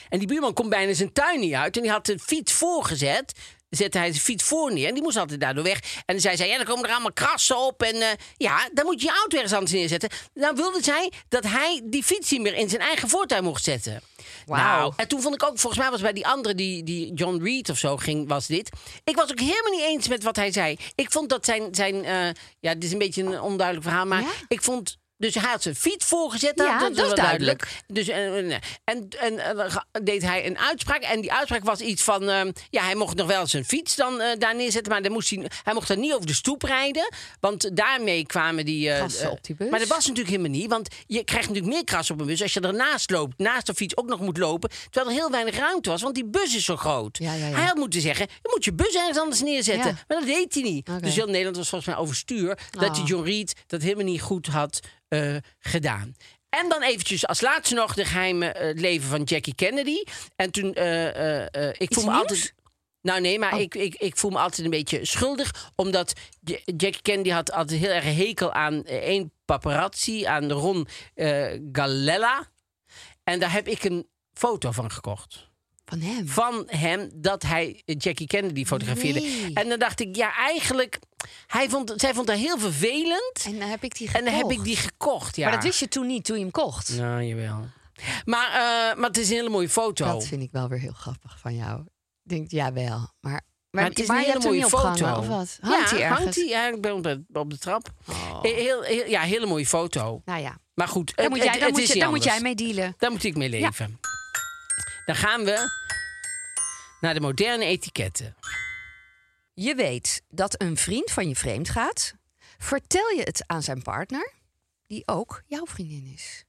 B: En die buurman kon bijna zijn tuin niet uit. En die had de fiets voorgezet. Zette hij zijn fiets voor neer. En die moest altijd daardoor weg. En dan zei zij, ja, dan komen er allemaal krassen op. En eh, ja, dan moet je je auto ergens anders neerzetten. Dan wilde zij dat hij die fiets niet meer in zijn eigen voortuin mocht zetten.
D: Wauw.
B: Nou, en toen vond ik ook, volgens mij was bij die andere, die, die John Reed of zo ging, was dit. Ik was ook helemaal niet eens met wat hij zei. Ik vond dat zijn, zijn eh, ja, dit is een beetje een onduidelijk verhaal. Maar
D: Ja?
B: ik vond, dus hij had zijn fiets voorgezet.
D: Ja, dat is
B: wel
D: duidelijk.
B: dus, en, en, en, en dan ga- deed hij een uitspraak. En die uitspraak was iets van... ehm, ja, hij mocht nog wel zijn fiets dan eh, daar neerzetten. Maar dan moest hij, hij mocht dan niet over de stoep rijden. Want daarmee kwamen die... eh,
D: Krassen
B: eh,
D: op die bus.
B: Maar dat was natuurlijk helemaal niet. Want je krijgt natuurlijk meer kras op een bus... als je ernaast loopt, naast de fiets ook nog moet lopen. Terwijl er heel weinig ruimte was. Want die bus is zo groot.
D: Ja, ja, ja.
B: Hij had moeten zeggen... je moet je bus ergens anders neerzetten.
D: Ja.
B: Maar dat deed hij niet.
D: Oké.
B: Dus heel Nederland was volgens mij overstuur... dat die
D: Oh.
B: John Reed dat helemaal niet goed had eh, gedaan. En dan eventjes als laatste nog de geheime eh, leven van Jackie Kennedy. En toen, eh, eh, eh, ik voel me
D: nieuws? Oh.
B: altijd... Nou nee, maar ik, ik, ik voel me altijd een beetje schuldig. Omdat J- Jackie Kennedy had altijd heel erg een hekel aan eh, één paparazzi. Aan Ron eh Galella. En daar heb ik een foto van gekocht
D: Van hem.
B: van hem dat hij Jackie Kennedy fotografeerde.
D: Nee.
B: En dan dacht ik, ja, eigenlijk, hij vond, zij vond dat heel vervelend. En,
D: En dan heb ik die gekocht.
B: dan heb ik die gekocht, ja.
D: Maar dat wist je toen niet, toen je hem kocht.
B: Nou, jawel. Maar, eh, maar het is een hele mooie foto.
D: Dat vind ik wel weer heel grappig van jou. Ik denk, jawel. Maar, maar,
B: Maar het is
D: maar
B: een
D: je
B: hele
D: hebt hem
B: mooie
D: niet opgehangen,
B: foto.
D: Of wat? Hangt
B: ja,
D: hij ergens?
B: hangt hij eigenlijk bij op de, op de trap. Eh, Heel, heel, ja, hele mooie foto.
D: Nou ja,
B: Maar goed,
D: daar
B: het-
D: moet
B: het-
D: jij, daar
B: het
D: moet
B: is
D: je-
B: niet
D: daar moet jij
B: anders.
D: mee dealen.
B: Daar moet ik mee leven. Dan gaan we naar de moderne etiketten.
D: Je weet dat een vriend van je vreemd gaat. Vertel je het aan zijn partner, die ook jouw vriendin is.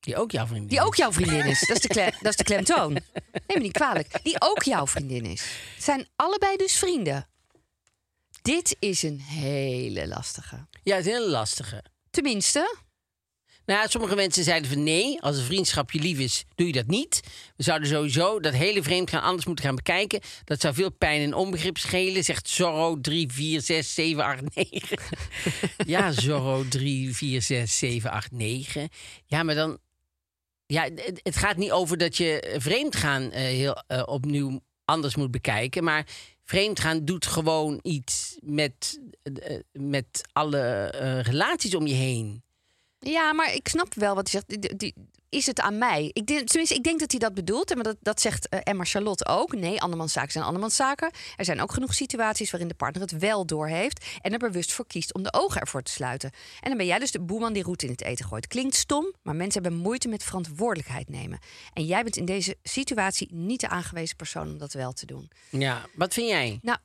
B: Die ook jouw vriendin
D: Die ook
B: is.
D: jouw vriendin is. Dat is de, kle dat is de klemtoon. Neem me niet kwalijk. Die ook jouw vriendin is. Het zijn allebei dus vrienden. Dit is een hele lastige.
B: Ja, het is een hele lastige.
D: Tenminste,
B: Nou, ja, sommige mensen zeiden van nee, als een vriendschap je lief is, doe je dat niet. We zouden sowieso dat hele vreemdgaan anders moeten gaan bekijken. Dat zou veel pijn en onbegrip schelen, zegt Zorro 3, 4, 6, 7, 8, 9. ja, Zorro 3, 4, 6, 7, 8, 9. Ja, maar dan... Ja, het, het gaat niet over dat je vreemdgaan eh, heel, eh, opnieuw anders moet bekijken, maar... Vreemdgaan doet gewoon iets met, eh, met alle eh, relaties om je heen.
D: Ja, maar ik snap wel wat hij zegt. Die- die- is het aan mij? Ik denk, tenminste, ik denk dat hij dat bedoelt. En maar dat, dat zegt eh, Emma Charlotte ook. Nee, andermans zaken zijn andermans zaken. Er zijn ook genoeg situaties waarin de partner het wel doorheeft... en er bewust voor kiest om de ogen ervoor te sluiten. En dan ben jij dus de boeman die roet in het eten gooit. Klinkt stom, maar mensen hebben moeite met verantwoordelijkheid nemen. En jij bent in deze situatie niet de aangewezen persoon om dat wel te doen.
B: Ja, wat vind jij?
D: Nou,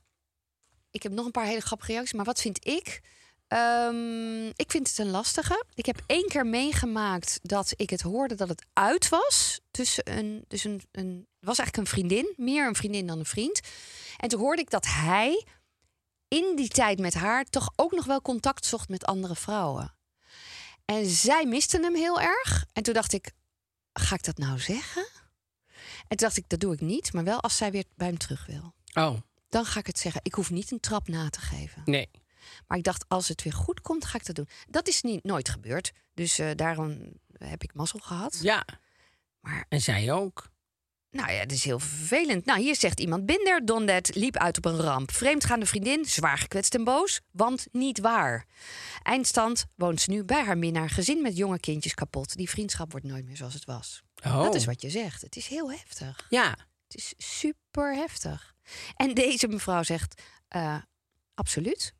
D: ik heb nog een paar hele grappige reacties. Maar wat vind ik? Ehm, ik vind het een lastige. Ik heb één keer meegemaakt dat ik het hoorde dat het uit was. Tussen een, dus een, een, het was eigenlijk een vriendin. Meer een vriendin dan een vriend. En toen hoorde ik dat hij in die tijd met haar toch ook nog wel contact zocht met andere vrouwen. En zij miste hem heel erg. En toen dacht ik, ga ik dat nou zeggen? En toen dacht ik, dat doe ik niet. Maar wel als zij weer bij hem terug wil
B: Oh,
D: dan ga ik het zeggen. Ik hoef niet een trap na te geven.
B: nee.
D: Maar ik dacht, als het weer goed komt, ga ik dat doen. Dat is niet, nooit gebeurd. Dus eh, daarom heb ik mazzel gehad.
B: Ja.
D: Maar-
B: En zij ook.
D: Nou ja, dat is heel vervelend. Nou, hier zegt iemand, Binder Dondet liep uit op een ramp. Vreemdgaande vriendin, zwaar gekwetst en boos, want niet waar. Eindstand woont ze nu bij haar minnaar, gezin met jonge kindjes kapot. Die vriendschap wordt nooit meer zoals het was.
B: Oh.
D: Dat is wat je zegt. Het is heel heftig.
B: Ja.
D: Het is super heftig. En deze mevrouw zegt: eh, absoluut.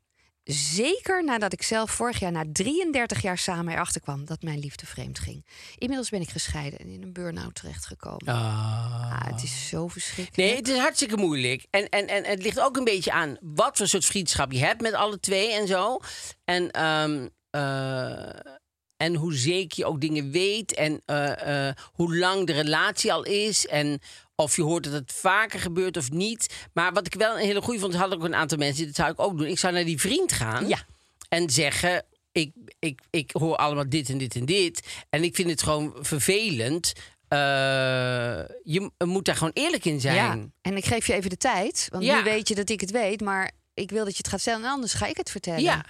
D: Zeker nadat ik zelf vorig jaar na 33 jaar samen erachter kwam dat mijn liefde vreemd ging. Inmiddels ben ik gescheiden en in een burn-out terechtgekomen. Ah, het is zo verschrikkelijk.
B: Oh. Nee, het is hartstikke moeilijk. En, en, en het ligt ook een beetje aan wat voor soort vriendschap je hebt met alle twee en zo. En, ehm, eh, en hoe zeker je ook dingen weet. En eh, eh, hoe lang de relatie al is. En of je hoort dat het vaker gebeurt of niet. Maar wat ik wel een hele goede vond, had ook een aantal mensen. Dat zou ik ook doen. Ik zou naar die vriend gaan.
D: Ja.
B: en zeggen: ik, ik, ik hoor allemaal dit en dit en dit. En ik vind het gewoon vervelend. Eh, je m- moet daar gewoon eerlijk in zijn.
D: Ja, en ik geef je even de tijd, want
B: Ja.
D: nu weet je dat ik het weet, maar ik wil dat je het gaat vertellen, en anders ga ik het vertellen.
B: Ja.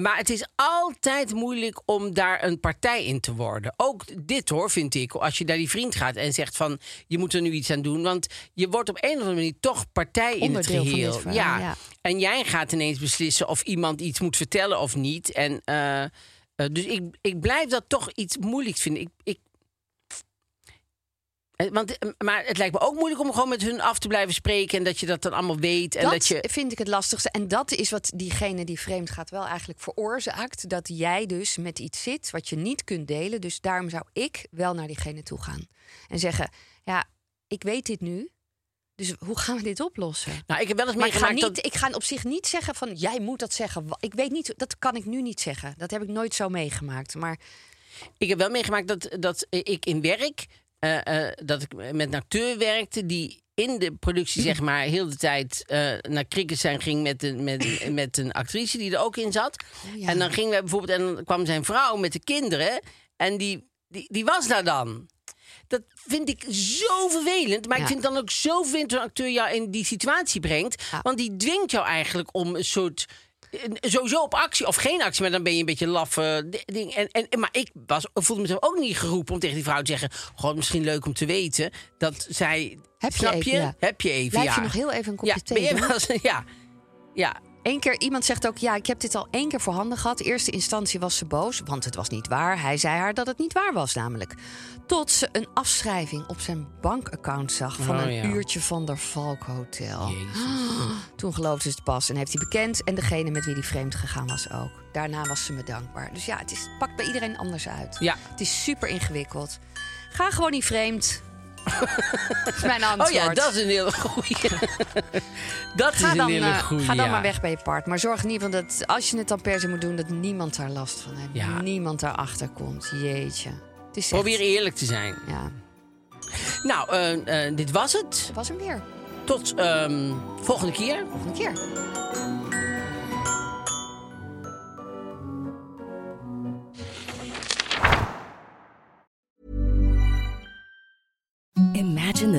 B: Maar het is altijd moeilijk om daar een partij in te worden. Ook dit hoor, vind ik. Als je naar die vriend gaat en zegt van... je moet er nu iets aan doen. Want je wordt op een of andere manier toch partij in het
D: Onderdeel van dit
B: geheel.
D: verhaal,
B: ja.
D: ja.
B: En jij gaat ineens beslissen of iemand iets moet vertellen of niet. En, eh, eh, dus ik, ik blijf dat toch iets moeilijks vinden. Ik, ik, eh, want, eh, maar het lijkt me ook moeilijk om gewoon met hun af te blijven spreken... en dat je dat dan allemaal weet. En
D: dat
B: dat, je,
D: vind ik het lastigste. En dat is wat diegene die vreemd gaat wel eigenlijk veroorzaakt. Dat jij dus met iets zit wat je niet kunt delen. Dus daarom zou ik wel naar diegene toe gaan. En zeggen, ja, ik weet dit nu. Dus hoe gaan we dit oplossen?
B: nou, ik heb wel eens
D: Maar ik ga,
B: meegemaakt
D: niet,
B: dat...
D: ik ga op zich niet zeggen van, jij moet dat zeggen. Wa- Ik weet niet, dat kan ik nu niet zeggen. Dat heb ik nooit zo meegemaakt. Maar
B: Ik heb wel meegemaakt dat, dat ik in werk, eh, eh, dat ik met een acteur werkte die in de productie, zeg maar, heel de tijd eh, naar cricket zijn ging met een, met, met een actrice die er ook in zat.
D: ja.
B: En dan gingen wij bijvoorbeeld, en dan kwam zijn vrouw met de kinderen en die, die, die was daar dan. Dat vind ik zo vervelend. Maar ik
D: Ja.
B: vind het dan ook zo vervelend dat een acteur jou in die situatie brengt.
D: Ja.
B: Want die dwingt jou eigenlijk om een soort... eh, Sowieso op actie of geen actie, maar dan ben je een beetje laffe di- ding. En, en, en- maar ik was, voelde mezelf ook niet geroepen om tegen die vrouw te zeggen... Goh, misschien leuk om te weten dat zij...
D: Heb je
B: snap
D: even,
B: je?
D: ja.
B: Heb je even,
D: Blijf
B: ja.
D: je nog heel even een kopje
B: ja,
D: thee
B: ben je
D: doen?
B: wel eens- ja, ja.
D: Eén keer, iemand zegt ook, ja, ik heb dit al één keer voorhanden gehad. Eerste instantie was ze boos, want het was niet waar. Hij zei haar dat het niet waar was namelijk. Tot ze een afschrijving op zijn bankaccount zag... van
B: Oh,
D: een
B: ja.
D: uurtje van der Valk Hotel. Toen geloofde ze het pas en heeft hij bekend. En degene met wie die vreemd gegaan was ook. Daarna was ze me dankbaar. Dus ja, het, is, het pakt bij iedereen anders uit.
B: Ja.
D: Het is super ingewikkeld. Ga gewoon niet vreemd. dat is mijn antwoord.
B: Oh ja, dat is een hele goeie. dat is
D: Ga
B: een
D: dan,
B: hele
D: eh,
B: goeie.
D: ga dan
B: ja.
D: maar weg bij je part. Maar zorg in ieder geval dat als je het dan per se moet doen, dat niemand daar last van heeft.
B: Ja.
D: Niemand daarachter komt. Jeetje. Het is echt-
B: Probeer eerlijk te zijn.
D: Ja,
B: Nou, eh, eh, dit was het.
D: dat was hem weer.
B: Tot ehm, volgende keer.
D: Volgende keer.
G: the